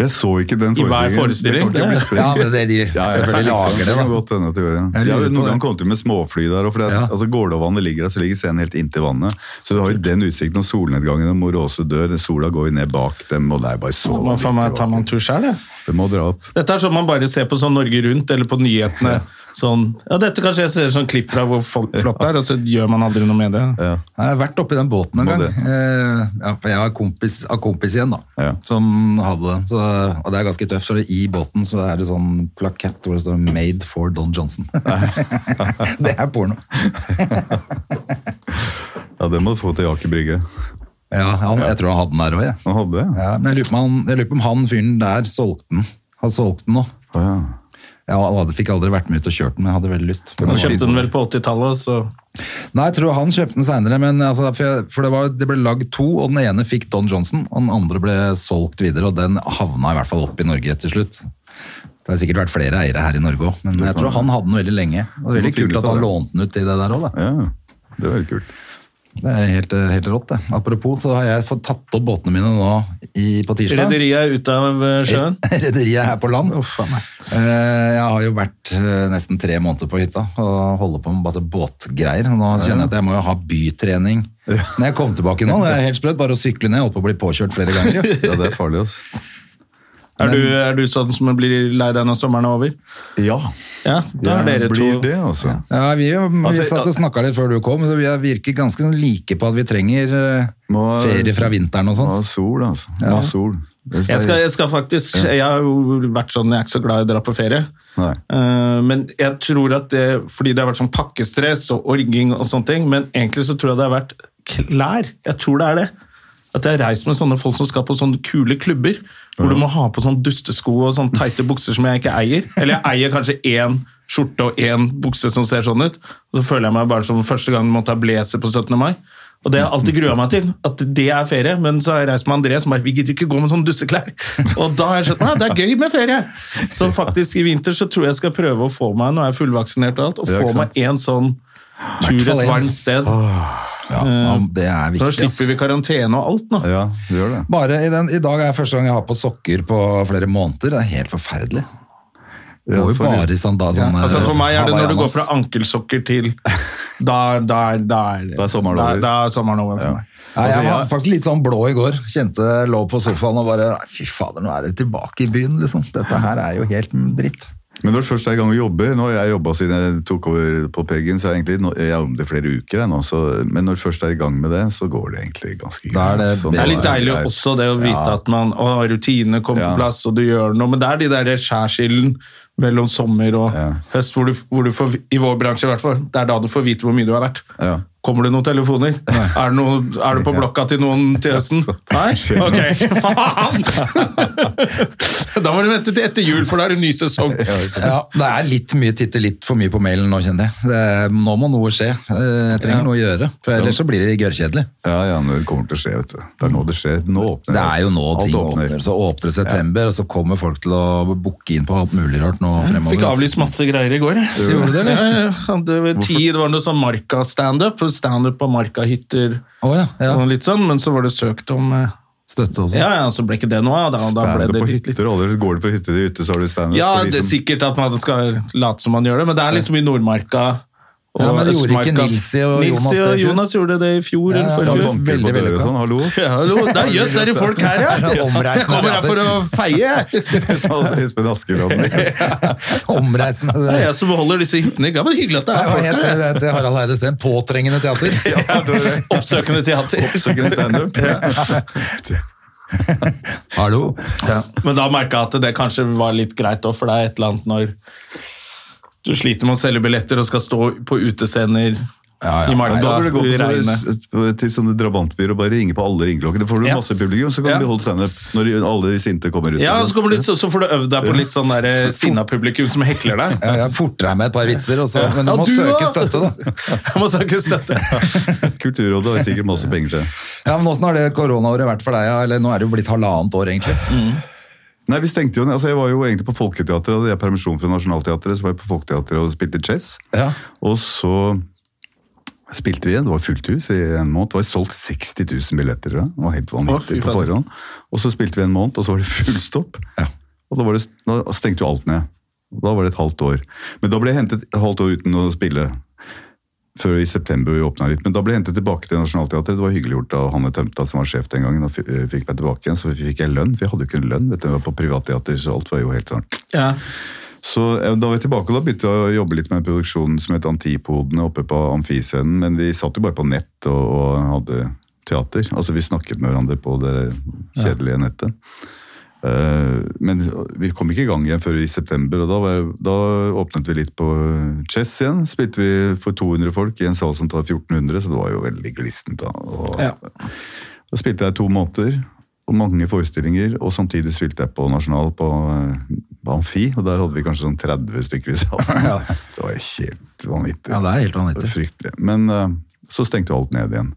S3: Jeg så ikke den
S2: I hver forestilling,
S3: Det kan ikke
S2: det-
S3: bli sprengt.
S1: Ja, men det, de
S3: Ja, jeg
S1: selvfølgelig lager det,
S3: kan
S1: da.
S3: godt hende at det gjør det.
S1: Jeg lurer
S3: Ja,
S1: på
S3: noen
S1: det.
S3: ganger kom de med småfly der, og for det, er-
S1: Ja.
S3: altså Gålåvannet ligger der, så ligger scenen helt inntil vannet. Så du har jo den utsikten om solnedgangen og Moråse dør, den sola går jo ned bak dem, og det er bare så
S2: Hva faen meg, tar man
S3: vakkert.
S2: tur sjøl, jeg?
S3: Du må dra opp.
S2: Dette er sånn man bare ser på sånn Norge Rundt eller på nyhetene. Sånn, ja, dette kanskje jeg ser sånn klipp fra hvor folk- flott det er, og så gjør man aldri noe med det.
S3: Ja.
S1: Jeg har vært oppi den båten en
S3: Må
S1: gang.
S3: det.
S1: Eh, ja, for jeg har kompis, av kompis igjen, da,
S3: Ja.
S1: som hadde det. Så, og det er ganske tøft. For i båten så er det sånn plakett hvor det står 'Made for Don Johnson'. det er porno.
S3: Ja, det må du få til Aker Brygge.
S1: Ja, han, Jeg tror han hadde den der òg, jeg.
S3: Han hadde det?
S1: Ja, men jeg lurer på om han, jeg lurer på om han fyren der solgte den. Har solgt den nå.
S3: Å, ja.
S1: Jeg hadde, fikk aldri vært med ut og kjørt den, men jeg hadde veldig lyst.
S2: Han kjøpte den vel på 80-tallet, så
S1: Nei, jeg tror han kjøpte den senere, men altså, for, jeg, for det, var, det ble lagd to, og den ene fikk Don Johnson, og den andre ble solgt videre, og den havna i hvert fall opp i Norge til slutt. Det har sikkert vært flere eiere her i Norge òg, men jeg tror han hadde den veldig lenge. Og det er veldig
S3: Du må finne
S1: kult
S3: ut
S1: at
S3: av
S1: han
S3: det.
S1: lånte den ut i det der òg, da.
S3: Ja, det er veldig kult.
S1: Det er helt, helt rått, det. Apropos, så har jeg fått tatt opp båtene mine nå i, på tirsdag.
S2: Rederiet er ute av eh, sjøen.
S1: Rederiet her på land.
S2: Uff a meg.
S1: Eh, Jeg har jo vært eh, nesten tre måneder på hytta og holder på med masse båtgreier. Nå kjenner jeg at jeg må jo ha bytrening. Når jeg kom tilbake nå, det er helt sprøtt, bare å sykle ned, jeg holdt på å bli påkjørt flere ganger. jo.
S3: Ja, det er farlig, altså.
S2: Er du, er du sånn som blir lei deg når sommeren er over?
S3: Ja,
S2: Ja, da er
S3: jeg
S2: dere
S3: blir
S2: to
S3: det, altså.
S1: Ja, vi, vi
S3: Altså,
S1: satt og snakka litt før du kom, så vi er- virker ganske sånn like på at vi trenger eh,
S3: Må-
S1: ferie fra vinteren og
S3: Må
S1: sånn.
S3: ha sol, altså. Må ha sol. Det er-
S2: Jeg skal, jeg skal faktisk Jeg har jo vært sånn, jeg er ikke så glad i å dra på ferie.
S3: Nei.
S2: Eh, men jeg tror at det Fordi det har vært sånn pakkestress og orging og sånne ting, men egentlig så tror jeg det har vært klær. Jeg tror det er det. At jeg har reist med sånne folk som skal på sånne kule klubber, hvor du må ha på sånn dustesko og sånne teite bukser som jeg ikke eier. Eller jeg eier kanskje én skjorte og én bukse som ser sånn ut. Og så føler jeg meg bare som første gang jeg måtte ha blazer på 17. mai. Og det har jeg alltid grua meg til, at det er ferie. Men så har jeg reist med André som bare Vi gidder ikke gå med sånne dusseklær. Og da har jeg skjønt nei, det er gøy med ferie. Så faktisk i vinter så tror jeg jeg skal prøve å få meg, nå er jeg fullvaksinert og alt, og
S3: Ja, ikke
S2: få
S3: sant?
S2: meg en sånn tur
S1: Hvertfall
S2: et
S1: en.
S2: varmt sted.
S1: Ja, ja, det er
S2: Så
S1: viktig.
S2: slipper
S1: ass.
S2: vi karantene og alt nå.
S3: Ja, du gjør det.
S1: Bare i, den, I dag er første gang jeg har på sokker på flere måneder. Det er helt forferdelig.
S3: Ja,
S1: Går jo
S3: faktisk.
S1: bare i sånn, da,
S2: Ja,
S1: sånn
S2: altså For meg er det når du går
S1: Havaianas.
S2: fra ankelsokker til Da, da, er- da, er,
S3: Da er sommeren
S2: da,
S3: over.
S2: da er sommeren over for meg.
S1: Nei, jeg
S3: Altså,
S1: var
S3: jeg-
S1: faktisk litt sånn blå i går. Kjente lå på sofaen og bare "Nei, Fy fader, nå er det tilbake i byen, liksom. Dette her er jo helt dritt.
S3: Men når du først er i gang og jobber Nå har jeg jobba siden jeg tok over på Peggen, så er jeg egentlig nå- jeg har jobbet i flere uker. Jeg, nå, så, men når du først er i gang med det, så går det egentlig ganske greit.
S1: Da er det
S3: Så
S1: bedre.
S2: Det
S3: nå
S2: er litt deilig
S3: jeg-
S2: også det å vite at man å, rutinene kommer
S3: Ja.
S2: på plass, og du gjør noe. Men det er de der skjærsilden mellom sommer og
S3: Ja.
S2: høst, hvor du, hvor du får, i vår bransje i hvert fall, det er da du får vite hvor mye du er verdt.
S3: Ja.
S2: Kommer det noen telefoner? Er, det noe, er du på blokka til noen til høsten? Nei? Ok, faen! da må du vente til etter jul, for da er det ny sesong.
S1: Ja, Det er litt mye titte litt for mye på mailen nå, kjenner jeg. Det, er- nå må noe skje. Eh, Jeg trenger noe å gjøre, for ellers så blir det gørrkjedelig.
S3: Ja, ja, når det kommer til å skje, vet du. Det er nå det skjer. Nå åpner
S1: Det er jo nå
S3: Alt
S1: ting åpner. Så åpner det september, og så kommer folk til å booke inn på alt mulig rart nå fremover.
S2: Fikk avlyst masse greier i går. jeg.
S1: Gjorde du det, eller?
S2: Ja, ja, ja. Det var ti, det var noe sånn Marka-standup. Standup på Marka-hytter.
S1: Å ja,
S2: og
S1: ja.
S2: litt sånn, Men så var det søkt om eh,
S1: Støtte også.
S2: Ja, ja, så ble ikke det noe av. Da, da ble
S3: Standup
S2: det
S3: på
S2: litt, litt.
S3: hytter, og aldri går du fra hytte til hytte, så har du standup.
S2: Ja,
S3: for de
S2: det er
S3: som-
S2: sikkert at man skal late som man gjør det, men det er liksom i Nordmarka og
S1: Ja, men det gjorde ikke
S2: Østmarka.
S1: Nilsi og Jonas det
S2: Nilsi
S1: i
S2: og
S1: fjor?
S2: Jonas gjorde det i fjor
S1: Ja,
S2: eller
S1: ja,
S3: Ja,
S2: forrige
S1: det var
S2: fjor.
S3: banker
S1: Veldig
S3: på dører og
S1: vellykka.
S3: sånn. Hallo!
S2: Ja, hallo, der jøss er det folk her, ja! Jeg
S1: Omreisende
S2: kommer her for å feie!
S3: Altså, Espen Askeland.
S1: Omreisende
S2: Det er jeg som beholder disse hyttene. Ja, men hyggelig at det
S1: Nei,
S2: er
S1: Hva
S2: folk
S1: het
S2: her.
S1: det det til Harald Eide Steen? Påtrengende teater?
S2: Oppsøkende teater.
S3: Oppsøkende standup.
S1: Hallo?
S2: Men da merka jeg at det kanskje var litt greit òg, for det er et eller annet når du sliter med å selge billetter og skal stå på utescener
S1: Ja, ja.
S2: i Marka.
S3: Da burde du gå
S2: i
S3: på
S2: regnet.
S3: sånne- til sånne drabantbyer og bare ringe på alle ringeklokkene. Da får du
S2: Ja.
S3: masse publikum, så kan
S2: Ja.
S3: du holde standup når alle de sinte kommer ut.
S2: Ja, og så, kommer det litt, så, så får du øvd deg på litt sånn der sinna publikum som hekler deg.
S1: Ja, jeg forter deg med et par vitser, og så, men du
S2: Ja,
S1: må
S2: du
S1: søke
S2: da!
S1: støtte, da.
S2: Jeg må søke støtte.
S3: Kulturrådet har sikkert masse penger til.
S1: Ja, men Åssen har det koronaåret vært for deg? ja? Eller nå er det jo blitt halvannet år, egentlig.
S3: Nei, vi stengte jo ned. Altså, jeg var jo egentlig på Folketeatret, hadde jeg permisjon fra Nationaltheatret, så var jeg på Folketeatret og spilte chess.
S1: Ja.
S3: Og så spilte vi igjen, det var fullt hus i en måned. Det var solgt 60 000 billetter, da. det var helt
S2: Å, fy
S3: vanvittig på
S2: faen.
S3: forhånd. Og så spilte vi en måned, og så var det full stopp. Og da, var det, da stengte jo alt ned. Da var det et halvt år. Men da ble jeg hentet et halvt år uten å spille. Før i september vi åpna litt. Men da ble jeg hentet tilbake til Nationaltheatret. Det var hyggelig gjort av Hanne Tømta som var sjef den gangen. og f- eh, fikk meg tilbake igjen, Så fikk jeg lønn, for jeg hadde jo ikke en lønn. vet du, jeg var På privatteater, så alt var jo helt sånn.
S2: Ja.
S3: Så eh, da var jeg tilbake, og da begynte jeg å jobbe litt med en produksjon som het Antipodene oppe på Amfiscenen. Men vi satt jo bare på nett og, og hadde teater. Altså vi snakket med hverandre på det kjedelige nettet. Eh, Men vi kom ikke i gang igjen før i september, og da, var, da åpnet vi litt på chess igjen. Spilte vi for 200 folk i en sal som tar 1400, så det var jo veldig glissent da. Og,
S2: Ja.
S3: Da spilte jeg to måneder, og mange forestillinger, og samtidig spilte jeg på Nasjonal på, eh, på Amfi, og der hadde vi kanskje sånn 30 stykker i salen. Det var helt vanvittig.
S1: Ja, det er helt
S3: Det er
S1: vanvittig.
S3: Fryktelig. Men eh, så stengte jo alt ned igjen.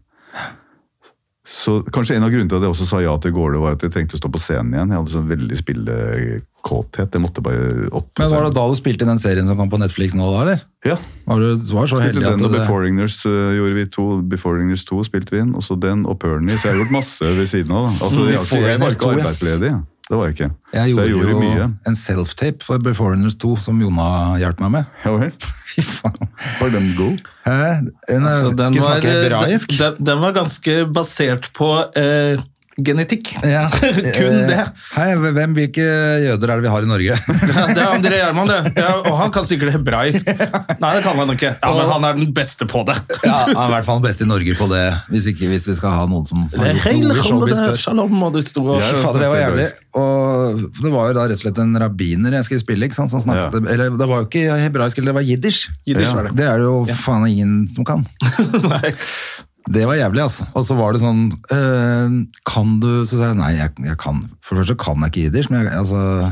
S3: Så kanskje en av grunnene til at jeg også sa ja til Gårdø, var at jeg trengte å stå på scenen igjen. Jeg hadde sånn veldig spillekåthet. Jeg måtte bare opp. på
S1: Men var det
S3: scenen.
S1: da du spilte i den serien som kom på Netflix nå, da, eller?
S3: Ja.
S1: Var du du var så
S3: Spilte
S1: heldig at
S3: den, og
S1: det,
S3: Before Igners eh, gjorde vi to. Before Igners 2 spilte vi inn, og så den og Pernie. Så jeg har gjort masse ved siden av. Da. Altså,
S1: Mm,
S3: jeg, har ikke- jeg var
S1: Before
S3: ikke
S1: Igners 2, ja.
S3: arbeidsledig. ja. Det var jeg ikke.
S1: jeg
S3: så
S1: gjorde,
S3: jeg gjorde
S1: jo
S3: mye.
S1: en self-tape for Beforeigners 2, som Jona hjalp meg med.
S3: Ja vel.
S1: Fy faen.
S3: Var den god?
S1: Hæ? Altså, Den, eh, skal
S2: Så den
S1: jeg
S2: var, eh,
S1: snakke hebraisk?
S2: den, den var ganske basert på eh, genetikk.
S1: Ja.
S2: Kun det.
S1: Hei, hvem, hvilke jøder er det vi har i Norge?
S2: Ja, det er André Gjerman, det. Ja, og han kan sikkert hebraisk. Nei, det kan han ikke. Ja, Men han er den beste på det.
S1: ja, han er i hvert fall best i Norge på det, hvis, ikke, hvis vi skal ha noen som har gjort noe showbiz før.
S2: Eh, Shalom, og det sto og-
S3: Ja,
S1: Fy fader, det var jævlig. Og det var jo da rett og slett en rabbiner jeg skulle spille, ikke sant? som snakket Eller det var jo ikke hebraisk, eller det var jiddish.
S2: Jiddisch var det.
S1: Det er det jo faen ingen som kan.
S2: Nei.
S1: Det var jævlig, altså. Og så var det sånn øh, Kan du Så sa jeg nei, jeg, jeg kan For det første kan jeg ikke jiddish, men jeg, altså,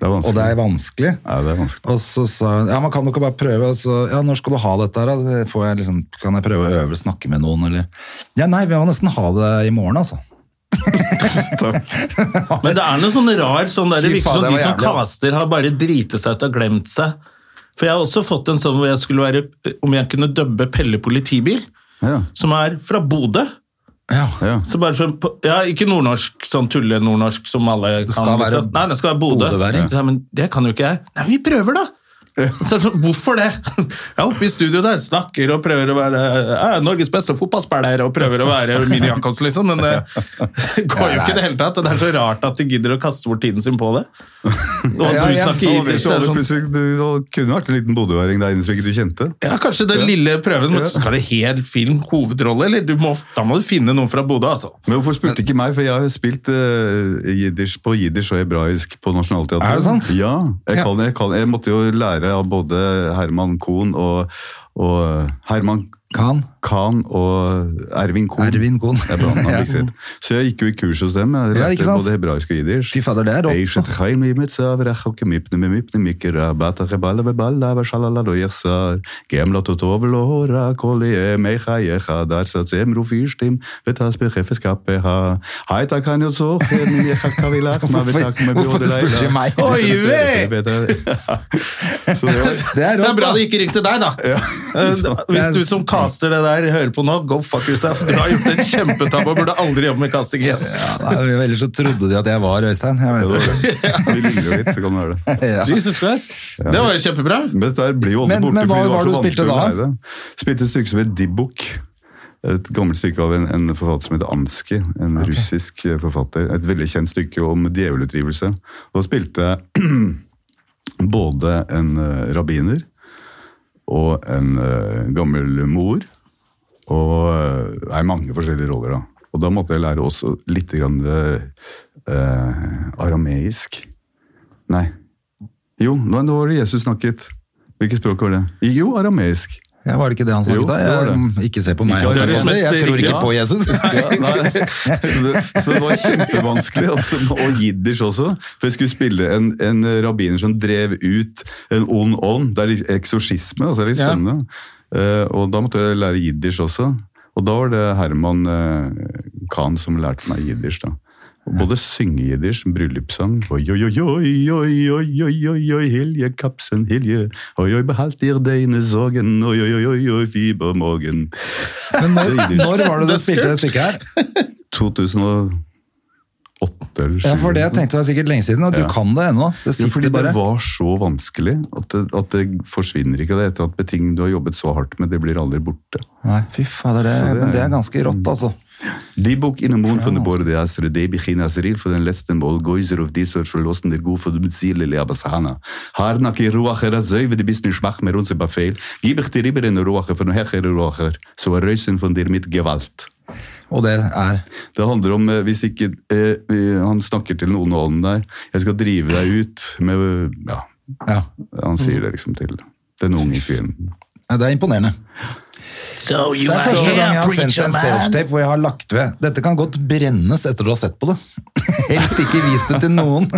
S3: Det er vanskelig.
S1: og det er vanskelig.
S3: Ja, det er vanskelig.
S1: Og så sa hun ja, man kan jo ikke bare prøve. Og så, ja, når skal du ha dette? her, da? Får jeg liksom, kan jeg prøve å øve, snakke med noen, eller Ja, nei, vi må nesten ha det i morgen, altså.
S2: Men det er noe sånn rar sånn der, Det
S1: Fy
S2: virker
S1: faen,
S2: som
S1: det
S2: de
S1: var
S2: som
S1: jævlig, ass.
S2: kaster, har bare driti seg ut og glemt seg. For jeg har også fått en sånn hvor jeg skulle være Om jeg kunne dubbe Pelle politibil,
S3: Ja,
S2: som er fra Bodø.
S3: ja.
S2: Så bare for, ja, ikke nordnorsk, sånn tulle-nordnorsk som alle kan.
S1: skal være
S2: liksom. Nei, det skal være Bodø.
S1: bodøværing.
S2: Så sa jeg, men det kan jo ikke jeg. Nei, vi prøver da! Så, jeg sånn, hvorfor det? Jeg er oppe i studio der, snakker og prøver å være jeg er Norges beste fotballspiller og prøver å være Mini Jacobs, liksom, men det går jo ikke i det hele tatt. Og det er så rart at de gidder å kaste bort tiden sin på det. Og
S1: Ja,
S2: du
S1: ja.
S2: snakker
S3: Da vet
S2: jiddisk, det
S3: du
S2: er
S3: alle
S2: sånn,
S3: plutselig, du det kunne vært en liten bodøværing der inne som ikke du kjente.
S2: ja, kanskje den lille prøven, men skal det hel film hovedrolle, eller? Du må, da må du finne noen fra Bodø, altså.
S3: Men hvorfor spurte ikke meg? For jeg har jo spilt eh, jiddisch, på jiddisch og hebraisk på Nationaltheatret.
S1: Er det sant?
S3: Ja. Jeg,
S1: Ja.
S3: kan, jeg, kan, jeg måtte jo lære av både Herman Kohn og, og eh, Herman
S1: Kan.
S3: Kahn og Ervin Kohn.
S1: Ervin Kohn.
S3: Det er bra, han
S1: Ja.
S3: fikk sitt. Så jeg gikk jo i kurs hos dem.
S1: Ja,
S3: Jeg lærte
S1: ikke sant?
S3: både hebraisk og jiddisch.
S1: Fy fader, det er
S3: Ei,
S1: rått.
S3: shit, chaim, limet, sav, rachok, mipne, mimipne, mikra, bata, rebala, bebala, vashalala, do, yersar, gemla, totov, lohora, kolie, mecha, yecha, dar, satzem, rufishtim, vetas, bechefes, kapeha. Haita, kan, yotzor, min, yecha, kavilak, ma, vetak, me,
S1: Hvorfor spurte du meg?
S2: Oi, vei!
S3: Så det var...
S1: Det er
S2: Det er
S1: rått,
S2: bra
S1: da.
S2: det ikke ringte deg, da. Eh, Hvis du som caster det der hører på nå, go fuck yourself. Du har gjort en kjempetabbe og burde aldri jobbe med casting igjen.
S1: Nei, Ellers så trodde de at jeg var Øystein. Jeg vet ikke.
S3: Vi ligner jo litt, så kan det være det.
S1: Ja.
S2: Jesus Christ. Det var jo kjempebra.
S3: Men dette her blir jo aldri
S1: Men-
S3: borte,
S1: men hva
S3: fordi det
S1: var
S3: var
S1: det
S3: så
S1: du spilte
S3: vanskelig å
S1: da?
S3: lære det. Spilte et stykke som het Dibbuk. Et gammelt stykke av en, en forfatter som heter Anski. En russisk eh, forfatter. Et veldig kjent stykke om djevelutdrivelse. Og da spilte jeg både en eh, rabbiner og en eh, gammel mor. Og eh, det er mange forskjellige roller, da. Og da måtte jeg lære også litt grann, eh, eh, arameisk. Nei. Jo, nå nå var det Jesus snakket. Hvilket språk var det? Jo, arameisk.
S1: Ja, var det ikke det han
S3: Jo,
S1: snakket da?
S3: det var
S1: Jeg, mm, ikke se på meg.
S3: Ikke
S1: Jeg,
S2: Deres mester,
S1: tror ikke
S2: ja.
S1: på Jesus.
S3: Ja, nei. Så, det, så det var kjempevanskelig. Altså, og jiddisch også. For jeg skulle spille en, en rabbiner som drev ut en ond ånd. Det er litt eksorsisme, altså, det er litt
S2: Ja.
S3: spennende. Eh, og da måtte jeg lære jiddisch også. Og da var det Herman eh, Khan som lærte meg jiddisch. da. Og Både synge jiddisch, bryllupssang Oi, oi, oi, oi, oi, oi, oi, oi, oi, hilje, kapsen, hilje. Oi, oi, behalt dir deine sorgen. Oi, oi, oi, oi, oi, fibermorgen.
S1: Men når, når var det du spilte det stykket her?
S3: 2008 eller 2007.
S1: Ja, for det jeg tenkte var sikkert lenge siden, og du
S3: Ja.
S1: kan det ennå. Det
S3: Ja, fordi
S1: sitter bare.
S3: det var så vanskelig at det, at det forsvinner ikke. Det er et eller annet med ting du har jobbet så hardt med, det blir aldri borte.
S1: Nei, fy fader, det,
S3: Så det-
S1: men det er ganske rått, altså.
S3: Die Bok in de Mond van de Borde de Astre, die begin Asril voor den letzten Bol Geuser of die soort verlossen der Goe voor de Beziele Leabasana. Haar na ki Ruach er azeuwe de bis nicht mach mer unser Befehl, gib ich dir über in Ruach von Hecher Ruacher, so er reusen von dir mit Gewalt.
S1: Og det er
S3: Det handler om eh, hvis ikke eh, eh, Han snakker til noen av dem der. 'Jeg skal drive deg ut med eh, Ja,
S1: Ja.
S3: han sier det liksom til den unge kvinnen.
S1: Ja, Det er imponerende.
S2: So you
S1: Det er første
S2: are
S1: gang jeg
S2: here,
S1: har sendt
S2: preacher
S1: en
S2: man.
S1: self-tape hvor jeg har lagt ved. Dette kan godt brennes etter du har sett på det. Helst ikke vis det til noen.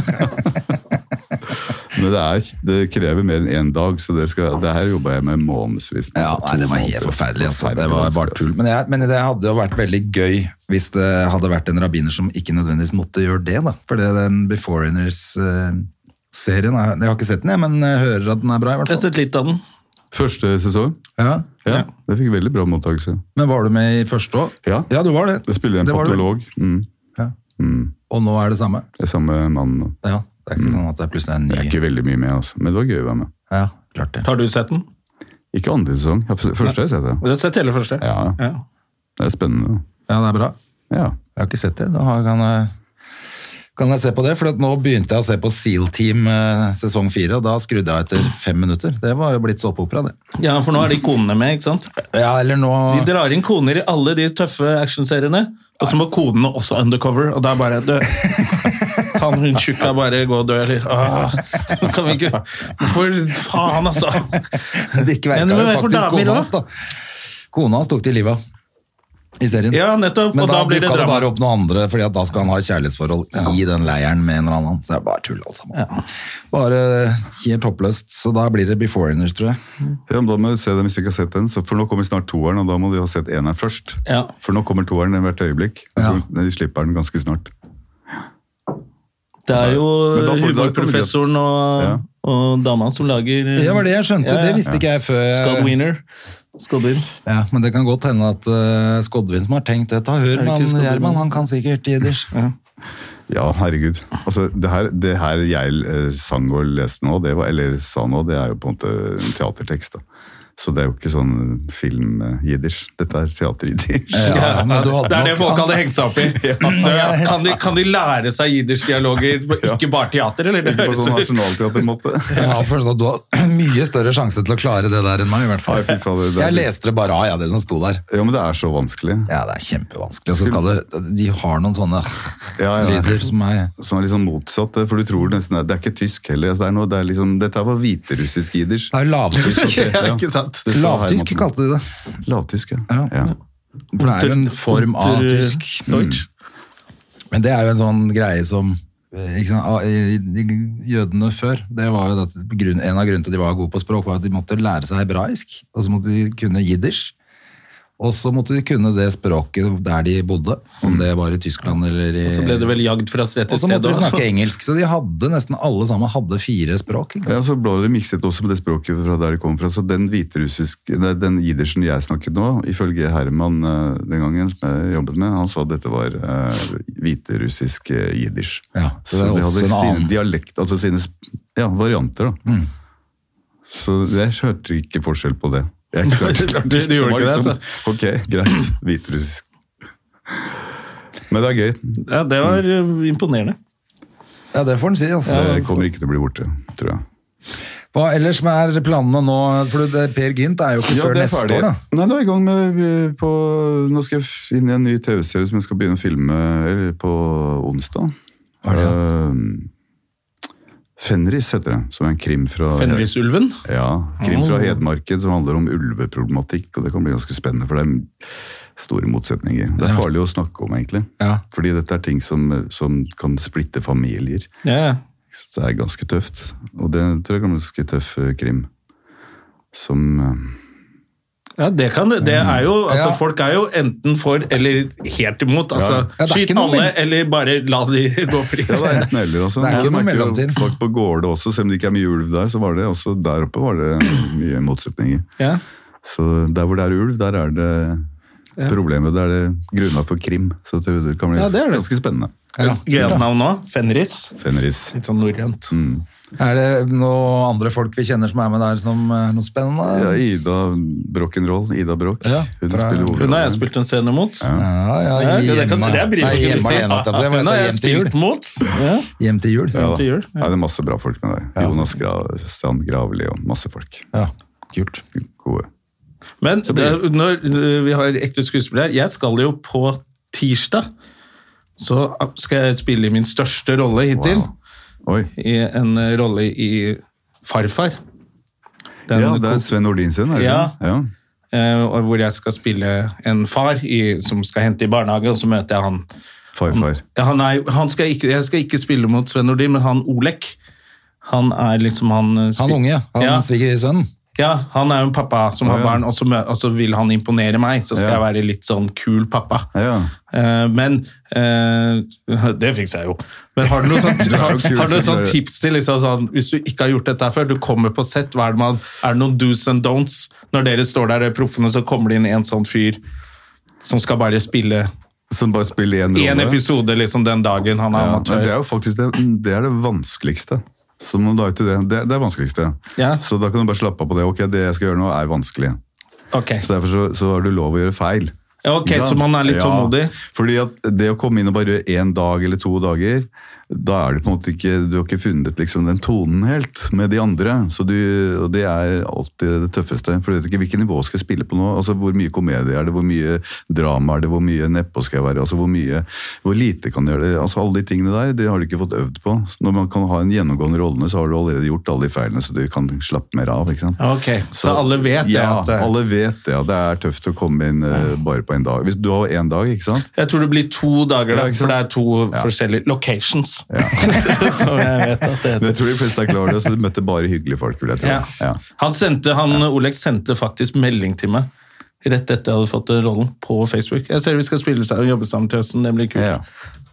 S3: Men det, er, det krever mer enn én dag, så det, skal, det her jobba jeg med månedsvis. med.
S1: Ja,
S3: Så
S1: nei,
S3: to
S1: det var helt
S3: måneder.
S1: forferdelig. Altså. Det
S3: Forferdelig
S1: var bare
S3: vanskelig,
S1: tull. Men, jeg, men det hadde jo vært veldig gøy hvis det hadde vært en rabbiner som ikke nødvendigvis måtte gjøre det, da. For det er den Beforeigners-serien er Jeg har ikke sett den, jeg, men jeg hører at den er bra, i
S2: Jeg har
S1: hvert fall.
S2: sett litt av den.
S3: altså. Første sesong?
S1: Ja.
S3: Ja, det fikk veldig bra mottakelse.
S1: Men var du med i første òg?
S3: Ja.
S1: ja, du var det.
S3: Det spiller en
S1: Det var det vel.
S3: patolog. Mm.
S1: Ja.
S3: Mm.
S1: Og nå er det samme?
S3: Det er samme mannen.
S1: Ja. Det er ikke sånn at det er plutselig en
S3: Jeg Mm. er
S1: ny
S3: ikke veldig mye med, altså. men det var gøy å være med.
S1: Ja, klart det.
S2: Har du sett den?
S3: Ikke andre sesong. Ja, f- Første har jeg sett det.
S2: Du har sett hele første?
S3: Ja,
S2: Ja.
S3: det er spennende.
S1: Ja, det er bra.
S3: Ja.
S1: Jeg har ikke sett det. Da har- kan jeg, kan jeg se på det, for at nå begynte jeg å se på Seal Team eh, sesong fire, og da skrudde jeg etter fem minutter. Det var jo blitt såpeopera, det.
S2: ja, for nå er de konene med, ikke sant?
S1: Ja, eller nå...
S2: De drar inn koner i alle de tøffe actionseriene, og så må konene også undercover, og da er bare dø. Kan hun tjukka bare gå og dø, eller? Åh, kan vi ikke For faen, altså!
S1: Det ikke verka
S2: Men det må
S1: jo
S2: være for
S1: faktisk
S2: damer
S1: kona
S2: også.
S1: hans, da. Kona hans tok til livet av i serien.
S2: Ja, nettopp,
S1: Men
S2: og
S1: da,
S2: da blir det
S1: dukka det
S2: drama.
S1: bare opp noen andre, Fordi at da skal han ha kjærlighetsforhold i den leiren med en eller annen. Så det er bare tull, alt sammen. Bare helt håpløst. Så da blir det beforeigners, tror jeg.
S3: Ja, men da må du se den hvis du ikke har sett den. Så, for nå kommer snart toeren, og da må du ha sett eneren først.
S2: Ja.
S3: For nå kommer toeren i hvert øyeblikk. Jeg
S1: Ja.
S3: tror De slipper den ganske snart.
S2: Det er jo
S3: Men da får vi- da kommer vi-
S2: humorprofessoren
S3: Ja.
S2: og, og dama som lager
S1: Det var det jeg skjønte. Det visste ikke jeg før.
S2: Scodwiner. Scodwin.
S1: Ja, men det kan godt hende at uh, Skodvin som har tenkt dette, hør
S2: det ikke
S1: man
S2: Skodvin?
S1: Gjerman, han kan sikkert jiddisch.
S3: Ja, herregud. Altså, det her, det her jeg eh, sang og leste nå, det var, eller sa nå, det er jo på en måte en teatertekst. da. Så det er jo ikke sånn film-jiddish. Dette er teater-jiddish.
S1: Ja, men du hadde
S2: Det er det
S1: nok-
S2: folk hadde hengt seg opp i. Det- Kan de, kan de lære seg jiddisch-dialoger, ikke bare teater, eller? Det
S3: På
S2: høres
S3: sånn
S2: ut
S3: nasjonalteatermåte.
S1: Jeg har følelsen av at du har mye større sjanse til å klare det der enn meg, i hvert fall.
S3: Nei, fy fader, det er-
S1: Jeg leste det bare av, ja, det som sto der.
S3: Ja, men det er så vanskelig.
S1: Ja, det er kjempevanskelig. Og så skal det, de har noen sånne
S3: Ja, ja.
S1: lyder som er
S3: Som er liksom motsatt, for du tror nesten det er ikke tysk heller. Altså, det er noe, det er liksom, dette var hviterussisk jiddish.
S1: Det er lavtysk.
S3: Ok, ja.
S2: Ja, ikke sant?
S3: Det sa her,
S1: Lavtysk
S3: Morten.
S1: kalte de det.
S3: Lavtysk, ja.
S1: Ja.
S3: ja.
S1: For det er jo en form av tysk.
S2: Mm. Deutsch.
S1: Men det er jo en sånn greie som eh, ikke sant, ah, i- i- Jødene før det var jo at grunn, En av grunnene til at de var gode på språk, var at de måtte lære seg hebraisk. Og så måtte de kunne jiddisch. Og så måtte de kunne det språket der de bodde. Om det var i Tyskland eller i
S2: Og så ble det vel jagd fra sted til
S1: Og så
S2: sted.
S1: måtte de
S2: også.
S1: snakke engelsk. Så de hadde nesten alle sammen hadde fire språk. Ikke sant?
S3: Ja, så ble det mikset også med det språket fra der det kom fra. Så den hviterussiske, nei, den jiddersen jeg snakket nå, ifølge Herman eh, den gangen som jeg jobbet med, han sa at dette var eh, hviterussisk eh, jiddisch.
S1: Ja, så
S3: så,
S1: det er
S3: de
S1: også
S3: hadde
S1: en
S3: sine
S1: annen- Mm.
S3: dialekt, altså sine sp- ja, varianter da. Så jeg hørte ikke forskjell på det. Jeg klarte,
S2: Du- du gjorde
S3: var
S2: ikke det,
S1: altså.
S3: liksom, Ok, greit, hviterussisk. Men det er gøy.
S2: Ja, det var eh, imponerende.
S1: Ja, det får en si, altså.
S3: Det kommer ikke til å bli borte, tror jeg.
S1: Hva ellers er planene nå? For det, Per Gynt er jo ikke før
S3: det er
S1: neste
S3: ferdig.
S1: år, da.
S3: Nei, nå er jeg i gang med eh, på, Nå skal jeg f- inn i en ny TV-serie som jeg skal begynne å filme eller, på onsdag.
S1: Hva er det?
S3: Eh, Fenris heter det, som er en krim fra
S2: Fenrisulven.
S3: ja, krim fra Hedmarken som handler om ulveproblematikk, og det kan bli ganske spennende, for det er store motsetninger. Det er farlig å snakke om, egentlig.
S1: Ja.
S3: Fordi dette er ting som, som kan splitte familier.
S2: Ja, ja.
S3: Så det er ganske tøft. Og det tror jeg er ganske tøff eh, krim. Som eh,
S2: ja, det kan det. Det er jo, altså
S1: Ja.
S2: Folk er jo enten for eller helt imot.
S1: Ja,
S2: Altså,
S1: det er
S2: Skyt
S1: ikke noe
S2: alle,
S1: mellom-
S2: eller bare la de gå fri.
S3: Ja, det er enten eller. Altså.
S1: Det er ikke
S3: Jeg
S1: noe
S3: merker jo
S1: mellomtid.
S3: Folk på Gårde også, selv om det ikke er mye ulv der, så var det også der oppe var det mye motsetninger.
S2: Ja.
S3: Så der hvor det er ulv, der er det problemer. Der er det grunnlag for krim. Så jeg tror det kan bli
S2: Ja, det er det.
S3: ganske spennende.
S1: Ja.
S2: Gøyalt navn nå. Fenris.
S3: Fenris.
S2: Litt sånn norrønt.
S1: Er det noen andre folk vi kjenner som er med der, som er noe spennende?
S3: Ja, Ida Brockenroll. Ida Broch.
S1: Ja,
S3: Hun
S1: fra-
S3: spiller
S2: Hun har jeg
S3: hovedrollen.
S2: spilt en scene mot.
S1: Ja, ja,
S2: Ja, det, det, kan,
S1: hjemme.
S2: det
S1: Nei,
S2: er Brille
S1: hjemme
S2: kunne si.
S1: alene, holdt jeg på å si. Men
S2: Hun
S1: det
S2: har
S1: er
S2: jeg
S1: hjem til jul.
S2: spilt mot. Ja.
S1: Hjem til jul.
S3: Ja, da.
S2: til jul, ja.
S3: Ja, det er masse bra folk med der.
S1: altså.
S3: Jonas Gra- Strand Gravli og masse folk.
S1: Ja, kult.
S3: Gode.
S2: Men det, når øh, vi har ekte skuespillere her, Jeg skal jo på tirsdag. Så ah, skal jeg spille min største rolle hittil.
S3: Wow. Oi.
S2: I en øh, rolle i Farfar. Den
S3: Ja, det
S2: ko-
S3: er Sven Nordin sin, er det
S2: Ja.
S3: ikke? Ja.
S2: eh, og hvor jeg skal spille en far i, som skal hente i barnehage, og så møter jeg han.
S3: Farfar.
S2: Ja, han er, jo- han skal ikke, jeg skal ikke spille mot Sven Nordin, men han Olek, han er liksom han... eh,
S1: Han
S2: spil-
S1: unge, han
S2: Ja.
S1: svigersønnen.
S2: Ja, han er jo en pappa som har barn, og så, mø- og så vil han imponere meg. Så skal
S3: Ja.
S2: jeg være litt sånn kul pappa.
S3: Ja.
S2: Eh, men eh, Det fikser jeg jo. Men har du noen sånn,
S3: Du er jo
S2: har,
S3: kul,
S2: har du noen sånn
S3: selvfølgelig.
S2: tips til liksom, sånn, hvis du ikke har gjort dette her før? Du kommer på sett, hva er det, man, er det noen do's and don'ts? Når dere står der, eh, proffene, så kommer det inn en sånn fyr som skal bare spille
S3: Som bare spiller én rolle.
S2: én episode liksom, den dagen han er
S3: Ja, men
S2: amatør.
S3: det er jo faktisk det, mm, det, er det vanskeligste. Så må du da ut i det. Det er det er vanskeligste.
S2: Ja.
S3: Så da kan du bare slappe av på det. Ok, det jeg skal gjøre nå er vanskelig.
S2: Ok,
S3: Så derfor så, så har du lov å gjøre feil.
S2: Ja, ok,
S3: Ikke sant?
S2: så man er litt
S3: Ja,
S2: tålmodig.
S3: Fordi at det å komme inn og bare gjøre én dag eller to dager, da er du på en måte ikke Du har ikke funnet liksom den tonen helt med de andre. Så du, og det er alltid det tøffeste. For du vet ikke hvilket nivå du skal spille på nå. Altså Hvor mye komedie er det, hvor mye drama er det, hvor mye nedpå skal jeg være? Altså Hvor mye, hvor lite kan du gjøre det? Altså Alle de tingene der, det har du ikke fått øvd på. Så når man kan ha en gjennomgående rolle, så har du allerede gjort alle de feilene, så du kan slappe mer av. ikke sant?
S2: Ok, Så, alle vet det?
S3: ja,
S2: at, eh,
S3: alle vet det. og Det er tøft å komme inn eh, bare på en dag. Hvis du har én dag, ikke sant?
S2: Jeg tror det blir to dager,
S3: Ja,
S2: da,
S3: ikke
S2: for
S3: sant?
S2: det er to forskjellige locations. som jeg vet at det
S3: Men jeg
S2: heter.
S3: tror de fleste er klar over det, så du møtte bare hyggelige folk. vil jeg tro.
S2: Ja.
S3: Ja.
S2: Han, sendte, han Oleg sendte faktisk melding til meg rett etter jeg hadde fått eh, rollen på Facebook. Jeg ser vi skal spille sammen, jobbe sammen til høsten, det blir kult.
S3: Ja.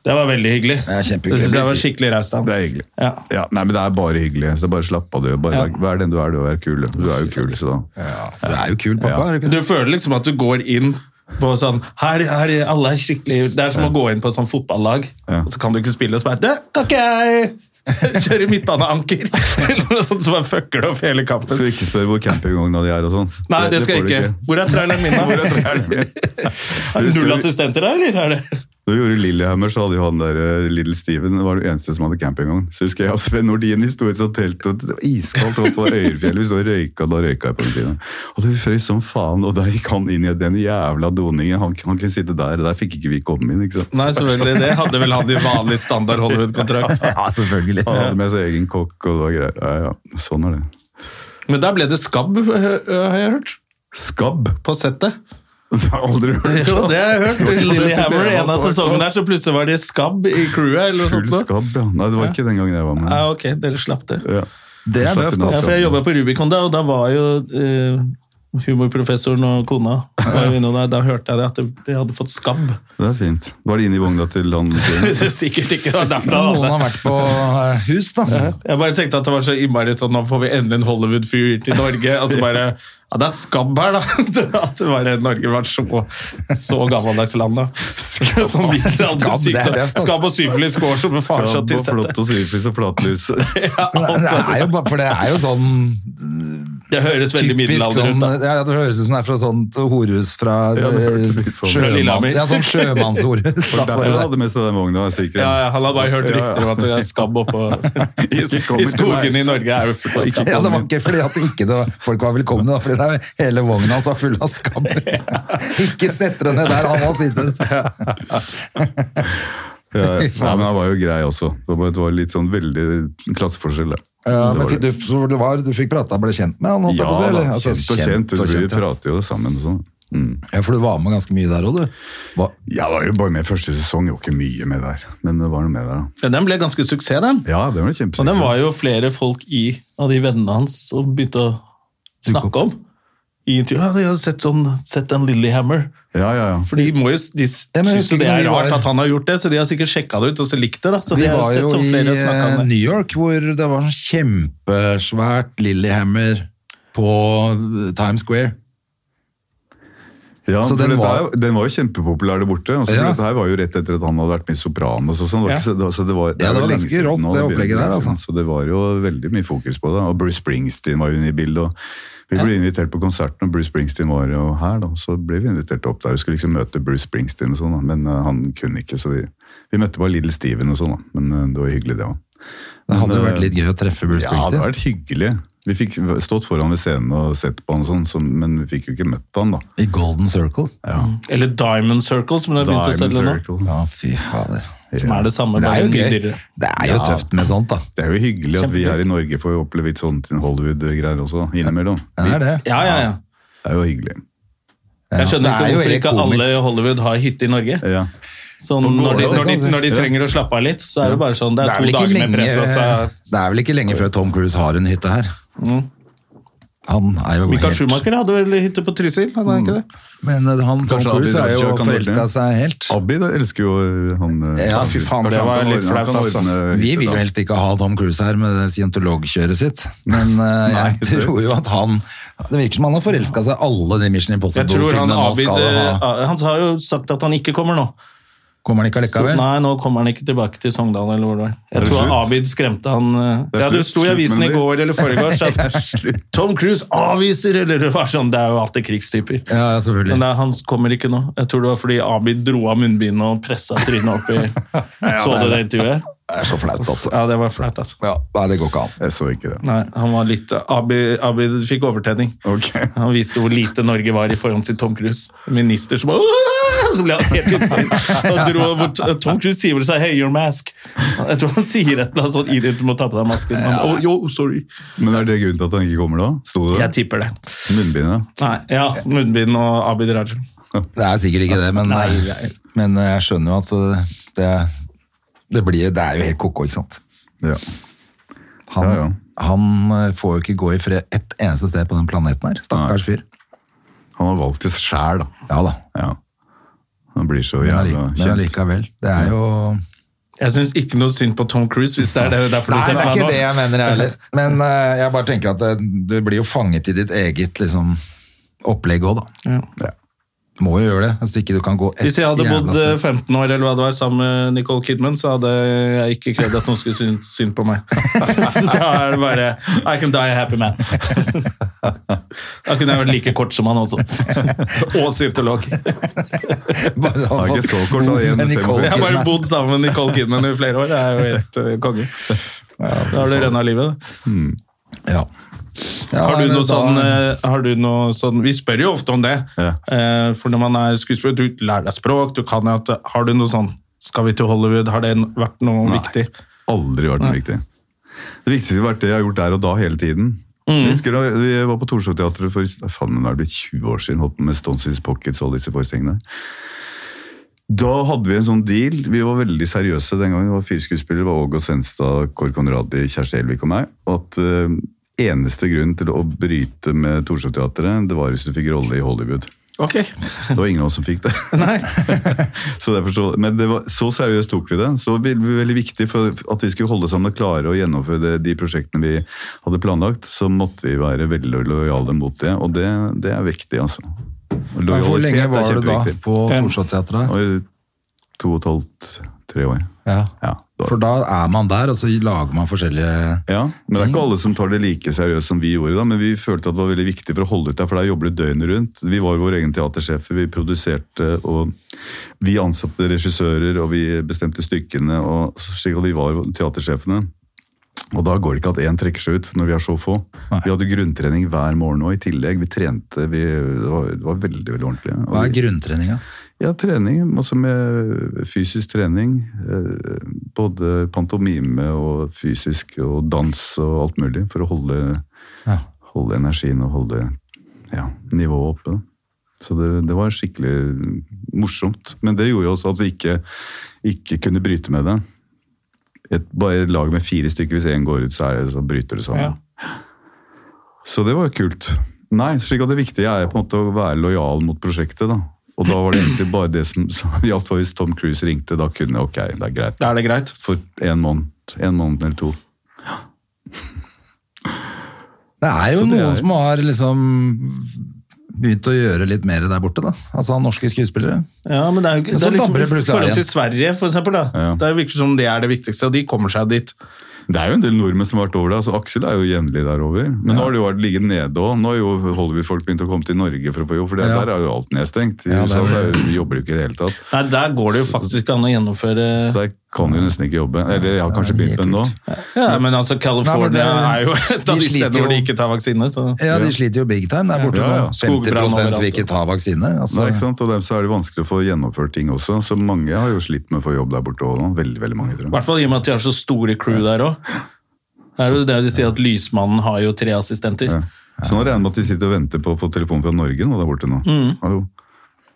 S2: Det var veldig hyggelig.
S1: er kjempehyggelig.
S2: Det synes jeg var skikkelig raust av
S3: Det er
S2: ham.
S3: hyggelig.
S2: Ja.
S3: Ja, nei, men det er bare hyggelig. så Bare slapp av, du. Bare,
S2: Ja.
S3: Vær den du er, du. og Vær kul. Du er jo kul, så da.
S1: Det er jo kul, pappa. er det ikke det?
S2: Du føler liksom at du går inn på sånn her, her, alle er skikkelig Det er som å gå inn på et sånt fotballag,
S3: Ja.
S2: og så kan du ikke spille, og så bare Det kan ikke jeg! Kjøre midtbaneanker! Eller noe sånt, så bare fucker du opp hele kampen.
S3: Skal vi ikke spørre hvor campingvogna di er og sånn?
S2: Nei, det, skal
S3: får
S2: jeg
S3: du
S2: ikke. Hvor er traileren min, da? Er det
S3: Husker
S2: null
S3: du-
S2: assistenter der, eller? Er det?
S3: Da vi gjorde Lillehammer, så hadde jo han der eh, Little Steven det var den eneste som hadde campingvogn. Så husker jeg og Sven Nordin, vi sto i et sånt telt, og det var iskaldt det var på Øyerfjellet. Vi sto og røyka, da røyka jeg på den tiden. Og det frøs som faen, og der gikk han inn i den jævla doningen. Han, han kunne sitte der, og der fikk ikke vi komme inn, ikke sant.
S2: Nei, selvfølgelig. Det hadde vel han i vanlig standard Hollywood-kontrakt.
S1: Ja, selvfølgelig.
S3: Han hadde med seg egen kokk, og det var greit. Ja, ja, sånn er det.
S2: Men da ble det skabb, øh, øh, har jeg hørt.
S3: Skabb!
S2: På settet.
S3: Det har jeg aldri hørt.
S2: Jo, det har jeg hørt. I Lillehammer,
S3: sitter jeg
S2: en av
S3: bak.
S2: sesongene der, så plutselig var det skabb i crewet, eller noe
S3: Full
S2: sånt. nå.
S3: skabb, ja. Nei, det var ikke den gangen jeg var med.
S2: Ja, ok, dere slapp det.
S3: Ja.
S1: Det er løft, altså.
S2: Ja, for jeg jobba på Rubicon da, og da var jo eh, humorprofessoren og kona var jo innom der. Da hørte jeg det at de hadde fått skabb.
S3: Det er fint. Var det inn i vogna til han?
S2: Det er Sikkert ikke. det var derfor han hadde
S1: Noen har vært på eh, hus, da.
S2: Jeg bare tenkte at det var så innmari sånn Nå får vi endelig en Hollywood-fyr til Norge. Altså bare, ja Det er skabb her, da! At det bare Norge var så, så gammeldags land, da. Som vi hadde
S1: Skabb, det er
S2: sykdom.
S1: løft, altså.
S2: Skabb og syfilis går som en
S3: Skabb
S2: farsatt til
S3: og
S2: settet.
S3: flott og syfilis og flatlys.
S1: Men Det er jo, bare- for det er jo sånn
S2: Det høres veldig
S1: typisk
S2: middelalder
S1: sånn
S2: ut, da.
S1: ja, Det høres ut som det er fra sånt horhus fra eh,
S3: Ja, det hørtes litt sånn ut.
S2: Fra Lillehammer.
S1: sjømann, ja, sånn sjømannshorhus. da,
S3: Derfor
S1: for
S3: han
S1: det.
S3: hadde med seg den vogna, er sikker.
S2: Ja, ja, han har bare hørt
S3: Ja, ja.
S2: rykter om at det er skabb oppå I,
S3: Ikke kom til
S2: i
S3: meg.
S2: skogene i Norge er jo fullt av skabb.
S1: Ja, det var ikke fordi at ikke det var, folk var velkomne, da, fordi det er, hele vogna hans var full av skam. Ikke sett dere ned der han har sittet.
S3: Ja, ja. Nei, men han var jo grei også. Det var, bare- det var litt sånn veldig klasseforskjell. det.
S1: Ja,
S3: Det
S1: men
S3: var
S1: fikk, du,
S3: det.
S1: så det var, du fikk prata og ble kjent med han? holdt jeg
S3: Ja
S1: på å si,
S3: da,
S1: eller?
S3: kjent
S1: Altså,
S3: og kjent.
S1: og
S3: Vi
S1: kjent, ja.
S3: prater jo sammen og sånn. Mm.
S1: Ja, for du var med ganske mye der òg, du. Hva-
S3: Jeg var jo bare med første sesong, jeg var ikke mye med der. Men det var noe med der, da.
S2: Den ble ganske suksess, den.
S3: Ja, det var det
S2: Og den
S3: kjempesikkert.
S2: var jo flere folk i, av de vennene hans som begynte å snakke om. I intervju. Ja, de har sett, sånn, sett den Lillehammer.
S3: Ja, ja, ja.
S2: For de, må jo, de s-
S1: Ja, men jeg
S2: synes jo
S1: husker
S2: det
S1: ikke når
S2: er
S1: vi
S2: rart
S1: var-
S2: at han har gjort det, så de har sikkert sjekka det ut og så likt det. da. Så
S1: Vi
S2: de har
S1: var
S2: sett
S1: jo
S2: så
S1: i
S2: flere snakket
S1: eh,
S2: om det.
S1: New York, hvor det var sånn kjempesvært Lillehammer på eh, Times Square.
S3: ja
S1: Så
S3: for
S1: den
S3: den,
S1: var-
S3: var... den var jo kjempepopulær der borte. Og så
S1: Ja.
S3: Dette her var jo rett etter at han hadde vært med i Sopranos og sånn. Det var
S2: Ja.
S3: ikke så- det- Så det var,
S1: Ja,
S3: er
S1: det
S3: jo
S1: var
S3: lenge
S1: ganske
S3: siden
S1: rått,
S3: nå,
S1: det
S3: begynner
S1: opplegget der,
S3: lenge siden,
S1: altså.
S3: liksom. Så det var jo veldig mye fokus på det. Og Bruce Springsteen var jo inne i bildet. og Vi ble invitert på konserten, og Bruce Springsteen var jo her. da, Så ble vi invitert opp der. Vi skulle liksom møte Bruce Springsteen, og sånn, da, men eh, han kunne ikke. Så vi, vi møtte bare Little Steven og sånn, da. Men eh, det var hyggelig, det òg.
S1: Det hadde jo
S3: Men,
S1: vært litt gøy å treffe Bruce
S3: Ja, det
S1: Springsteen.
S3: hadde vært hyggelig. Vi fikk stått foran ved scenen og sett på han, og sånn, så, men vi fikk jo ikke møtt han, da.
S1: I Golden Circle.
S3: Ja.
S2: Eller Diamond Circle, som de har begynt å
S3: Diamond
S2: selge nå.
S3: Circle.
S1: Ja, fy fader.
S2: Som er det samme,
S1: Men det
S2: bare
S1: er jo
S2: mye
S1: gøy.
S2: dyrere.
S1: Det er jo
S3: Ja.
S1: tøft med sånt, da.
S3: Det er jo hyggelig at vi
S2: Kjempehyggelig.
S3: her i Norge får oppleve litt sånt Hollywood-greier sånn også, innimellom.
S1: Det er det.
S2: Ja, ja, ja.
S3: Det er jo hyggelig.
S2: Jeg
S1: Det
S2: skjønner
S1: er
S2: ikke
S1: jo
S2: hvorfor
S1: helt
S2: ikke
S1: komisk.
S2: alle i Hollywood har hytte i Norge.
S3: Ja.
S2: Sånn,
S3: På
S2: når, de,
S3: gården,
S2: når, de,
S3: kanskje.
S2: når de
S3: Ja.
S2: trenger å slappe av litt, så er det bare sånn. Det er,
S1: vel
S2: to
S1: ikke
S2: dager med press,
S1: lenge- eh,
S2: og så Mm.
S1: Det er vel ikke lenge før Tom Cruise har en hytte her. Han er jo
S2: Michael
S1: helt
S2: Schumacher hadde vel hytte på Trysil? Hadde
S3: Mm.
S2: han ikke det?
S1: Men eh, han, Tom
S3: Kanskje
S1: Cruise er
S3: Abid
S1: jo
S3: Raja kan
S1: forelska
S3: ordne.
S1: seg helt.
S3: Abid elsker jo han eh,
S1: Ja,
S2: fy faen,
S3: Kanskje
S2: det
S3: han
S2: var
S3: kan
S2: litt
S3: ordne- han
S2: flaut,
S3: kan
S2: altså.
S3: ordne
S1: Vi
S3: hytte
S1: vil jo
S3: da.
S1: helst ikke ha Tom Cruise her med det scientologkjøret sitt, men eh,
S3: Nei,
S1: jeg
S3: det-
S1: tror jo at han Det virker som han har forelska seg alle de Mission
S2: Jeg tror
S1: Impossible-filmene
S2: han
S1: nå
S2: Abid
S1: skal
S2: eh,
S1: ha.
S2: Han har jo sagt at han ikke kommer nå.
S1: Kommer han ikke allikevel?
S2: Nei, nå kommer han ikke tilbake til Sogndal eller hvor det var.
S3: Er
S2: Jeg
S3: det
S2: tror
S3: slutt?
S2: Abid skremte han eh,
S3: Det er
S2: Ja, det
S3: slutt,
S2: sto i
S3: slutt
S2: avisen i
S3: med det.
S2: går eller foregårs at Tom Cruise avviser, eller det var sånn. Det er jo alltid krigstyper.
S1: Ja, ja,
S2: Men
S1: selvfølgelig.
S2: nei, han kommer ikke nå. Jeg tror det var fordi Abid dro av munnbindet og pressa trynet opp i Så du det intervjuet?
S1: Det er så flaut, altså.
S2: Ja, det var flaut, altså.
S1: Ja, nei, det går ikke an.
S3: Jeg så ikke det.
S2: Nei, han var litt Abid, Abid fikk overtenning.
S3: Ok.
S2: Han viste hvor lite Norge var i forhold til Tom Cruise. Minister som bare «Åh!» Så ble han helt hysterisk. Og dro over- Tom Cruise sier vel seg 'Hey, your mask'. Jeg tror han sier et eller annet sånn i det du må ta på deg masken. Han, «Å, jo, sorry.
S3: Men er det grunnen til at han ikke kommer da? Sto det
S2: Jeg
S3: der?
S2: tipper det.
S3: Munnbindet?
S2: Nei, ja, Munnbind og Abid Raja.
S1: Det er sikkert ikke det, men, eh, men jeg skjønner jo at eh, det, det blir Det er jo helt ko-ko, ikke sant?
S3: Ja.
S1: Han,
S3: Ja, ja.
S1: han eh, får jo ikke gå i fred ett eneste sted på den planeten her. Stakkars fyr.
S3: Han har valgt det sjæl, da.
S1: Ja da.
S3: Ja. Han blir så
S1: Men
S3: jævla
S1: alli- men
S3: kjent.
S1: allikevel. Det er jo
S2: Jeg syns ikke noe synd på Tom Cruise, hvis det er det, derfor du
S1: Nei, det
S2: setter
S1: er
S2: meg
S1: ikke
S2: nå.
S1: det jeg mener, jeg heller. Men eh, jeg bare tenker at det, du blir jo fanget i ditt eget liksom, opplegg òg, da.
S2: Ja.
S1: Ja. Må jo gjøre det, hvis ikke du kan gå ett
S2: Hvis jeg hadde
S1: jævla
S2: bodd eh,
S1: sted.
S2: 15 år eller hva det var, sammen med Nicole Kidman, så hadde jeg ikke krevd at noen skulle synes synd på meg. da er det bare I can die a happy man. da kunne jeg vært like kort som han også. Og scientolog. Jeg
S1: Bare ha
S3: Det er ikke
S1: fått-
S3: så kort, da, igjen,
S1: Men Nicole
S3: Jeg
S2: har bare
S1: Kidman.
S2: bodd sammen med Nicole Kidman i flere år. Det er jo helt eh, konge. Da har det renna livet. da.
S1: Ja. Ja,
S2: Har
S1: nei,
S2: du
S1: men
S2: noe
S1: da-
S2: sånn, eh, har du noe sånn Vi spør jo ofte om det.
S3: Ja.
S2: Eh, For når man er skuespiller, du lærer deg språk, du kan jo at Har du noe sånn Skal vi til Hollywood? Har det vært noe viktig?
S3: Aldri vært noe viktig. Det viktigste har vært det jeg har gjort der og da hele tiden. Jeg husker da Vi var på Torshov-teatret for Nei, faen, men nå er det blitt 20 år siden. Holdt på med Stonsis Pockets og alle disse forestillingene. Da hadde vi en sånn deal. Vi var veldig seriøse den gangen. Det var fire skuespillere, det var Åge Senstad, Kåre Konradi, Kjersti Elvik og meg. Og at eh, eneste grunn til å bryte med Torshov-teatret, det var hvis du fikk rolle i Hollywood.
S2: Ok.
S3: Det var ingen av oss som fikk det. så derfor så, men det var, så seriøst tok vi det. Så det var veldig viktig for at vi skulle holde sammen og klare å gjennomføre det, de prosjektene vi hadde planlagt, så måtte vi være veldig lojale mot det, og det, det er viktig, altså. Og
S1: Hvor
S3: Lojalitet
S1: lenge
S3: er
S1: var du da
S3: kjempeviktig.
S1: på Torshov-teatret?
S3: Og i to og et halvt, tre år.
S1: Ja.
S3: Ja, det var-
S1: For da er man der, og så lager man forskjellige
S3: Ja, men det er ikke alle som tar det like seriøst som vi gjorde da, men vi følte at det var veldig viktig for å holde ut der, for der jobber du døgnet rundt. Vi var vår egen teatersjefer, vi produserte, og vi ansatte regissører, og vi bestemte stykkene, og slik at vi var teatersjefene. Og da går det ikke at én trekker seg ut for når vi er så få. Vi hadde grunntrening hver morgen og i tillegg. Vi trente, vi, det, var, det var veldig veldig ordentlig. Og
S1: Hva er
S3: vi-
S1: grunntreninga?
S3: ja, trening. Altså med fysisk trening. eh, Både pantomime og fysisk og dans og alt mulig. For å holde,
S1: Ja.
S3: holde energien og holde ja, nivået oppe. da. Så det, det var skikkelig morsomt. Men det gjorde også at vi ikke, ikke kunne bryte med det. Et, bare et lag med fire stykker, hvis én går ut, så, er det, så bryter det sammen.
S2: Ja.
S3: Så det var jo kult. Nei, slik at det viktige er på en måte å være lojal mot prosjektet, da. Og da var det egentlig bare det som som gjaldt for hvis Tom Cruise ringte, da kunne jeg, ok, det er greit.
S2: Da er det greit.
S3: For en måned, en måned eller to.
S1: Det er jo
S3: Så det er-
S1: noen som har liksom begynt å gjøre litt mer der borte, da. Altså norske skuespillere.
S2: Ja, men det er jo
S1: Men
S2: ikke det
S1: så
S2: er liksom,
S1: dabber det
S2: I
S1: plutselig av
S2: forhold til
S1: igjen.
S2: Sverige, for eksempel. Da.
S3: Ja.
S2: Det virker som det er det viktigste, og de kommer seg dit.
S3: Det er jo en del nordmenn som har vært over det. altså Aksel er jo jevnlig der over. Men nå har det jo vært ligget nede òg. Nå har jo Hollywood-folk begynt å komme til Norge for å få jobb, for det-
S1: Ja.
S3: der er jo alt nedstengt. I
S1: Ja, det er
S3: USA så
S1: det.
S3: er jo- jobber du ikke i det hele tatt.
S2: Nei, Der går det jo faktisk ikke an å gjennomføre
S3: Så der kan du nesten ikke jobbe. Eller jeg har kanskje
S1: det er
S3: begynt med det nå.
S2: ja, Men altså, California
S1: Nei,
S2: er jo et av
S1: de
S2: de
S1: sliter
S2: stedene hvor de
S1: jo.
S2: ikke tar vaksine. Så.
S1: Ja, de sliter jo big time der borte.
S3: Ja, ja.
S1: nå. 50
S2: Skogbrann
S1: vil ikke ta vaksine. Altså.
S3: Nei, ikke sant? Og dem så er det vanskelig å få gjennomført ting også. Så mange har jo slitt med å få jobb der borte òg nå. Veldig, veldig mange, tror jeg.
S2: I hvert fall i og med at de har så store crew der òg. Det er jo det de sier at lysmannen har jo tre assistenter.
S3: Så nå regner jeg med at de sitter og venter på å få telefon fra Norge nå der borte nå.
S1: Mm.
S3: Hallo.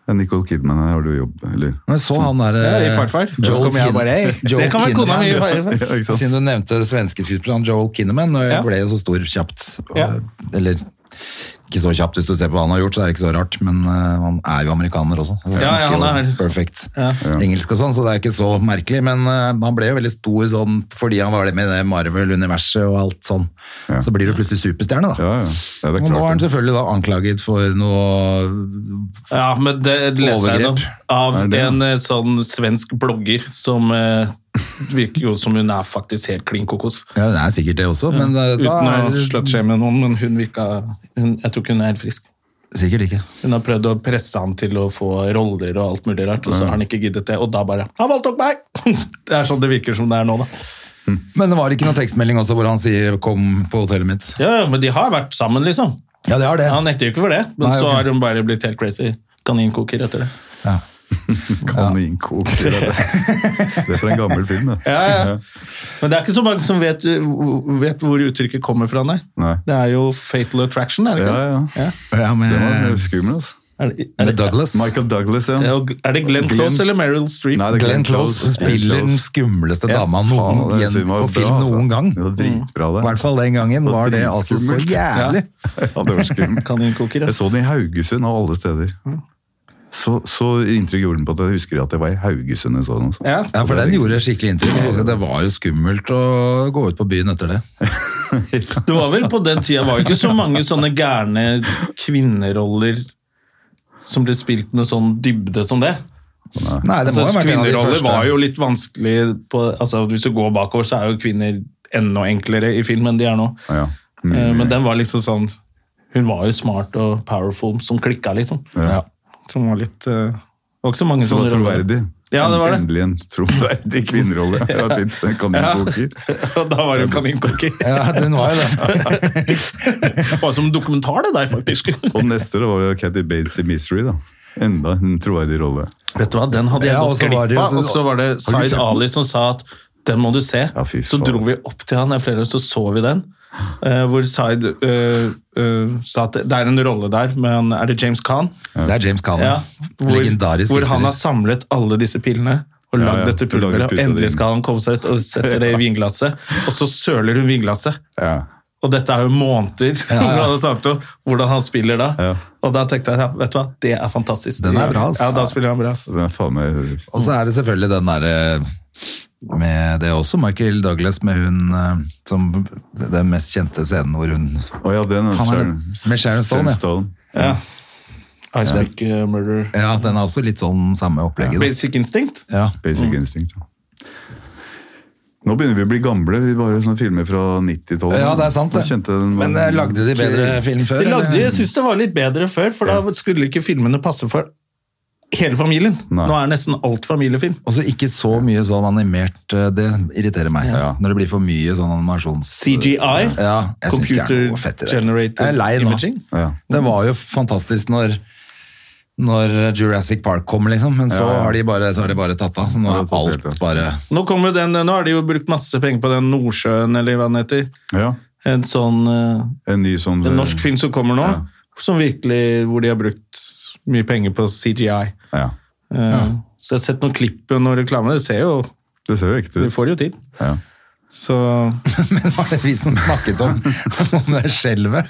S3: Ja, Nicole Kidman, her har du jobb, eller?
S1: Men så han der
S2: Ja, i
S1: eh,
S2: farfar. Så
S1: Joel
S2: kommer jeg
S1: Kin-
S2: bare, «Hei,
S1: Joel
S2: det kan være kona mi i
S1: Kinnaman.
S2: farfar.
S3: Ja, ikke sant?
S1: Siden du nevnte det svenske skuespilleren Joel Kinnaman, og jeg
S2: Ja.
S1: ble jo så stor kjapt. Og,
S2: Ja.
S1: Eller ikke så kjapt, hvis du ser på hva han har gjort, så er det ikke så rart, men eh, han er jo amerikaner også. Han
S2: Ja, ja,
S1: snakker
S2: han
S1: jo
S2: er-
S1: Perfekt
S2: Ja.
S1: engelsk og sånn, så det er ikke så merkelig, men eh, han ble jo veldig stor sånn, fordi han var det med det Marvel-universet og alt sånn.
S3: Ja.
S1: Så blir du plutselig superstjerne da.
S3: Ja, ja. ja det er
S1: Og nå er han
S3: klart. det.
S1: selvfølgelig da anklaget for noe
S2: Ja, men det leser jeg nå
S1: Overgrep.
S2: av
S3: Er det det?
S2: en eh, sånn svensk blogger som eh, virker jo som hun er faktisk helt klin kokos.
S1: Ja, det er sikkert det også, men eh,
S2: Uten
S1: da
S2: å
S1: er
S2: sluttshame noen, men hun virka hun, Jeg tror ikke hun er helt frisk.
S1: Sikkert ikke.
S2: Hun har prøvd å presse han til å få roller og alt mulig rart, og så har han ikke giddet det, og da bare Han voldtok meg! Det er sånn det virker som det er nå, da.
S1: Men det var ikke noen tekstmelding også hvor han sier 'kom på hotellet mitt'?
S2: Ja, ja, men de har vært sammen, liksom.
S1: Ja, det har det.
S2: Han nekter jo ikke for det, men
S1: Nei,
S2: så
S1: ok.
S2: har hun bare blitt helt crazy. Kaninkoker etter det.
S3: Kaninkoker. Det er- det er fra en gammel film, det.
S2: Ja, ja. Men det er ikke så mange som vet, vet hvor uttrykket kommer fra, nei.
S3: Nei.
S2: Det er jo fatal attraction, er det ikke?
S3: Ja, ja.
S1: sånn.
S2: Ja.
S1: Ja, med,
S3: Det var skummel, altså.
S2: Er, det,
S1: med
S2: er, det,
S1: Douglas.
S3: Michael Douglas, ja.
S2: er det- er det Glenn
S3: Glenn-
S2: Close eller Meryl Streep?
S3: Nei, det er
S1: Glenn Close spiller den skumleste dama
S3: Faen,
S1: noen,
S3: den
S1: igjen
S3: filmen var
S1: på
S3: bra,
S1: film
S3: altså.
S1: noen gang. Mm.
S3: Det var dritbra, det.
S1: I hvert fall den gangen var det altså så
S3: dritskummelt.
S1: jævlig.
S3: Ja, det var skummelt.
S2: Kaninkoker,
S3: Jeg
S2: ass.
S3: så den i Haugesund av alle steder.
S1: Mm.
S3: Så, så inntrykk gjorde den på at jeg husker at jeg var i Haugesund og så den. altså.
S2: Ja.
S1: Ja, for den gjorde skikkelig inntrykk. Altså, Det var jo skummelt å gå ut på byen etter det.
S2: Det var vel på den tida var det ikke så mange sånne gærne kvinneroller som ble spilt med sånn dybde som det.
S1: Nei, det må
S2: Altså,
S1: jo ha vært en av de
S2: kvinneroller
S1: første.
S2: var jo litt vanskelig på, altså, Hvis du går bakover, så er jo kvinner enda enklere i film enn de er nå.
S3: Ja, ja. Mm,
S2: Eh, Men den var liksom sånn Hun var jo smart og powerful, som klikka, liksom.
S3: ja.
S2: Som var litt eh, Det var ikke så mange
S3: Så det
S1: sånn
S2: sånne
S3: var troverdig.
S2: Ja, det var det.
S3: Endelig en troverdig kvinnerolle. Det var fint. En Kaninkoker.
S2: Og da var det jo kaninkoker. Det
S1: Ja, den var jo det.
S2: var som en dokumentar, det der, faktisk.
S3: Og neste da var det Cathy Bates i Misery. da. Enda en troverdig rolle.
S2: Vet du hva, den hadde jeg
S1: Ja, og
S2: gått
S1: så var det
S2: glipp
S1: jo
S2: av.
S1: så-
S2: Og så var det
S3: Har du
S2: Zaid
S3: sett den?
S2: Ali som sa at den må du se.
S3: Ja, fy
S2: så
S3: faen.
S2: dro vi opp til han, det er flere år, så så vi den. eh, hvor Zaid eh, eh, sa at det er en rolle der, men er det James Khan?
S1: Det er James Caan.
S2: Ja, hvor,
S1: Legendarisk
S2: hvor han har
S1: skuespiller.
S2: samlet alle disse pillene og
S3: Ja,
S2: lagd
S3: ja,
S2: dette
S3: og laget
S2: pulveret, og
S3: putter det
S2: endelig
S3: inn.
S2: skal han komme seg ut og sette det i vinglasset. Og så søler hun vinglasset.
S3: Ja.
S2: Og dette er jo måneder hvor han har sagt om hvordan han spiller da.
S3: Ja.
S2: Og da tenkte jeg, ja, vet du hva, det er fantastisk.
S1: Den er bra, ass.
S2: Ja, da spiller han bra. ass.
S3: Så det er faen meg
S1: Og så er det selvfølgelig den derre med det også, Michael Douglas med hun eh, som Den mest kjente scenen hvor hun
S3: Å ja, den er
S1: Faen, er det-
S3: Sharon-
S1: med Sharon Stone, ja.
S2: Ja. Icepick eh, Murder.
S1: Ja, den er også litt sånn samme opplegget.
S2: Basic Instinct?
S1: Ja.
S3: Basic Instinct. ja. Nå begynner vi å bli gamle. Vi bare sånne filmer fra 90-tallet.
S1: Ja, det er sant, det.
S3: Jeg kjente den var-
S1: Men eh, lagde de bedre film før?
S2: De lagde,
S1: eller?
S2: jeg synes det var litt bedre før, for da skulle ikke filmene passe for hele familien.
S3: Nei.
S2: Nå er nesten alt familiefilm.
S1: Og så ikke så mye sånn animert, eh, det irriterer meg.
S3: Ja.
S1: Når det blir for mye sånn animasjons...
S2: CGI,
S1: Ja, jeg synes ikke det er noe fett i
S2: Computer
S1: det. Jeg er
S2: Generated
S1: lei nå.
S2: Imaging.
S3: Ja.
S1: Det var jo fantastisk når, når Jurassic Park kom, liksom. Men så,
S3: Ja, ja.
S1: Har, de bare, så har de bare tatt av. Så nå
S3: Ja,
S1: er
S3: det er tatt helt
S1: alt
S3: av.
S1: bare
S2: Nå, kommer den, nå har de jo brukt masse penger på den Nordsjøen, eller hva den heter.
S3: Ja,
S2: En sånn eh,
S3: En ny sånn
S1: Mm.
S2: en norsk film som kommer nå, som virkelig, hvor de har brukt mye penger på CGI.
S3: Ja.
S2: Eh, Så jeg har sett noen klipp og noen reklame. Det ser jo,
S3: Det ser jo ekte
S2: de
S3: ut.
S2: får det jo til.
S3: Ja.
S2: Så
S1: Men var det vi som snakket om, om det skjelvet?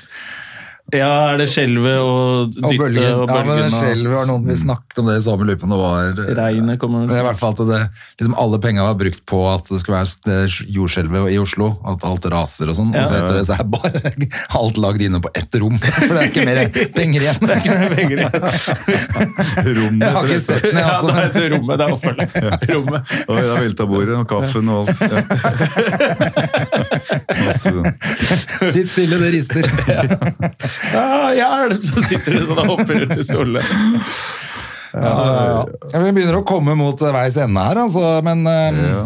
S2: ja, er det skjelvet og
S1: Og
S2: dytte
S1: bølgen.
S2: og
S1: Ja, men det
S2: bølgen og
S1: skjelvet var noen vi snakket om det i sommer, lurer på om det var
S2: regnet kommer.
S1: Men i hvert fall at det, liksom alle penger var brukt på at det skulle være det jordskjelvet i Oslo, at alt raser og sånn, og så etter det så er bare alt lagd inne på ett rom, for det er ikke mer penger igjen. Det er ikke mer penger igjen. Jeg har ikke sett den, jeg,
S2: Ja, da
S1: altså.
S2: heter rommet det er oppfølgeren. Rommet.
S3: Oi, da velta bordet og kaffen og alt. Ja. Masse sånn.
S1: Sitt stille, det rister.
S2: Ja, ja, så sitter du sånn og hopper ut i stolen.
S1: Ja, vi begynner å komme mot eh, veis ende her, altså, men eh,
S3: Ja.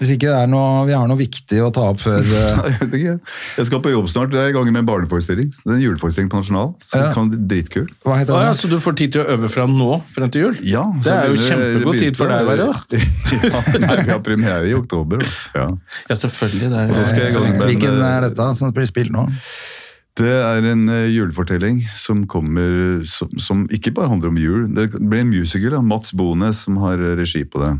S1: hvis ikke det er noe, vi har noe viktig å ta opp før eh,
S3: Jeg vet ikke. Jeg skal på jobb snart. Jeg er i gang med en barneforestilling. Det er en juleforestilling på Nasjonal. Så
S1: Ja.
S3: kan bli dritkul.
S1: Hva heter
S2: Å ja,
S1: den?
S2: så du får tid til å øve fra nå frem til jul?
S3: Ja,
S2: det
S3: så
S2: er jo
S3: begynner-
S2: kjempegod tid for deg, Verre. da.
S3: ja, nei, vi har premiere i oktober. da. Ja.
S2: Ja, selvfølgelig. Det er
S3: Og så skal jeg i gang med
S1: Hvilken er dette som blir spilt nå?
S3: Det er en eh, julefortelling som kommer som, som ikke bare handler om jul. Det blir en musical av Mats Bones som har eh, regi på det.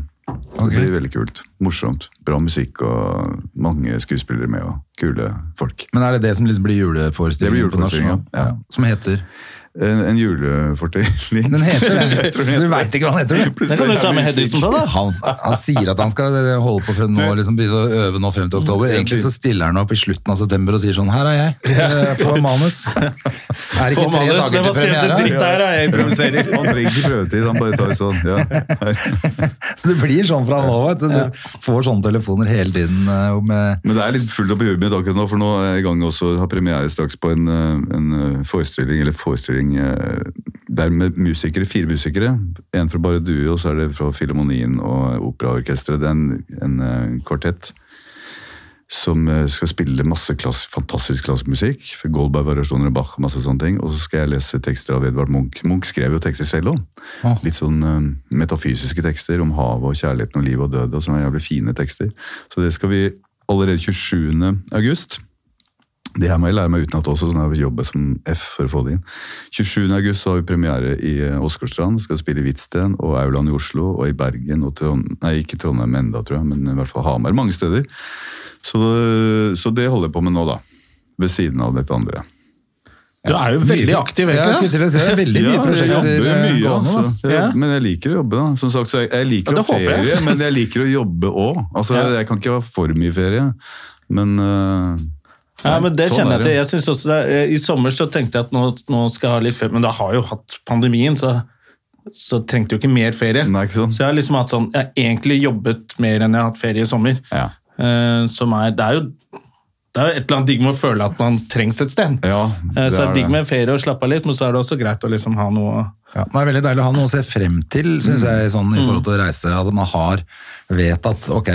S1: Ok.
S3: Det blir veldig kult. Morsomt. Bra musikk og mange skuespillere med og kule folk.
S1: Men er det det som liksom blir
S3: Det blir
S1: juleforestillingen på
S3: juleforestillingen,
S1: nasjonal?
S3: ja.
S1: Som heter
S3: En, en julefortelling.
S1: Den heter det.
S3: Jeg tror den
S1: Du
S3: heter det.
S1: veit ikke hva han heter. du.
S2: Det kan du ta med Hedvigsen på, da.
S1: Han, han sier at han skal eh, holde på frem nå, liksom begynne å øve nå frem til oktober. Egentlig så stiller han opp i slutten av september og sier sånn Her er jeg, eh, på manus. Er det
S2: Få
S1: ikke tre
S2: manus,
S1: dager
S2: hvem
S1: til
S2: har skrevet det dritt
S1: premiere?
S2: der? da? Jeg improviserer.
S3: Han trenger ikke prøvetid, han bare tar sånn. Ja. her.
S1: Så det blir sånn fra nå av. Du får sånne telefoner hele tiden eh, med
S3: Men det er litt fullt opp i huet mitt akkurat nå, for nå er jeg i gang også har premiere straks på en, eh, en eh, forestilling, eller forestilling eh, der med musikere, fire musikere. En fra Bare Due, og så er det fra Filharmonien og Operaorkestret. Det er en, en eh, kvartett som eh, skal spille masse klass, fantastisk klassisk musikk. Goldberg-variasjoner og Bach, masse sånne ting. Og så skal jeg lese tekster av Edvard Munch. Munch skrev jo tekster selv òg. Litt sånn eh, metafysiske tekster om havet og kjærligheten og livet og død og sånne jævlig fine tekster. Så det skal vi allerede 27. august. Det her må jeg lære meg utenat også, sånn jeg jobber som F for å få det inn. 27. august så har vi premiere i eh, Åsgårdstrand. Skal spille i Hvitsten og Aulaen i Oslo og i Bergen og Trond... Nei, ikke Trondheim enda, tror jeg, men i hvert fall Hamar. Mange steder. Så, eh, så det holder jeg på med nå, da. Ved siden av dette andre.
S2: Du er jo veldig aktiv,
S1: Ja, jeg
S2: egentlig.
S1: skulle til å si det er veldig mye prosjekter
S3: jeg
S1: eh,
S3: jobber
S1: gående.
S3: mye,
S1: da.
S3: altså. Jeg,
S2: Ja.
S3: Men jeg liker å jobbe, da. Som sagt, så jeg, jeg liker
S2: Ja, det
S3: å
S2: håper jeg.
S3: ferie, men jeg liker å jobbe òg. Altså,
S2: Ja.
S3: Jeg kan ikke ha for mye ferie, men eh,
S2: Ja, men det
S3: Sånn er
S2: kjenner jeg
S3: det.
S2: til. Jeg synes også det, er- eh, I sommer så tenkte jeg at nå, nå skal jeg ha litt ferie, men da har jeg jo hatt pandemien, så, så trengte jeg jo ikke mer ferie.
S3: Nei, ikke sant?
S2: Så jeg har liksom hatt sånn, jeg har egentlig jobbet mer enn jeg har hatt ferie i sommer.
S3: ja.
S2: Eh, som er, det er jo det er jo et eller annet digg med å føle at man trengs et sted.
S3: Ja,
S2: Eh,
S3: det
S2: så det
S3: er
S2: er digg
S3: det.
S2: med ferie og slappe av litt, men så er det også greit å liksom ha noe å-
S1: Ja, men det er veldig deilig å ha noe å se frem til, synes jeg, sånn,
S3: Mm.
S1: i forhold til å reise. At man har, vet at, ok,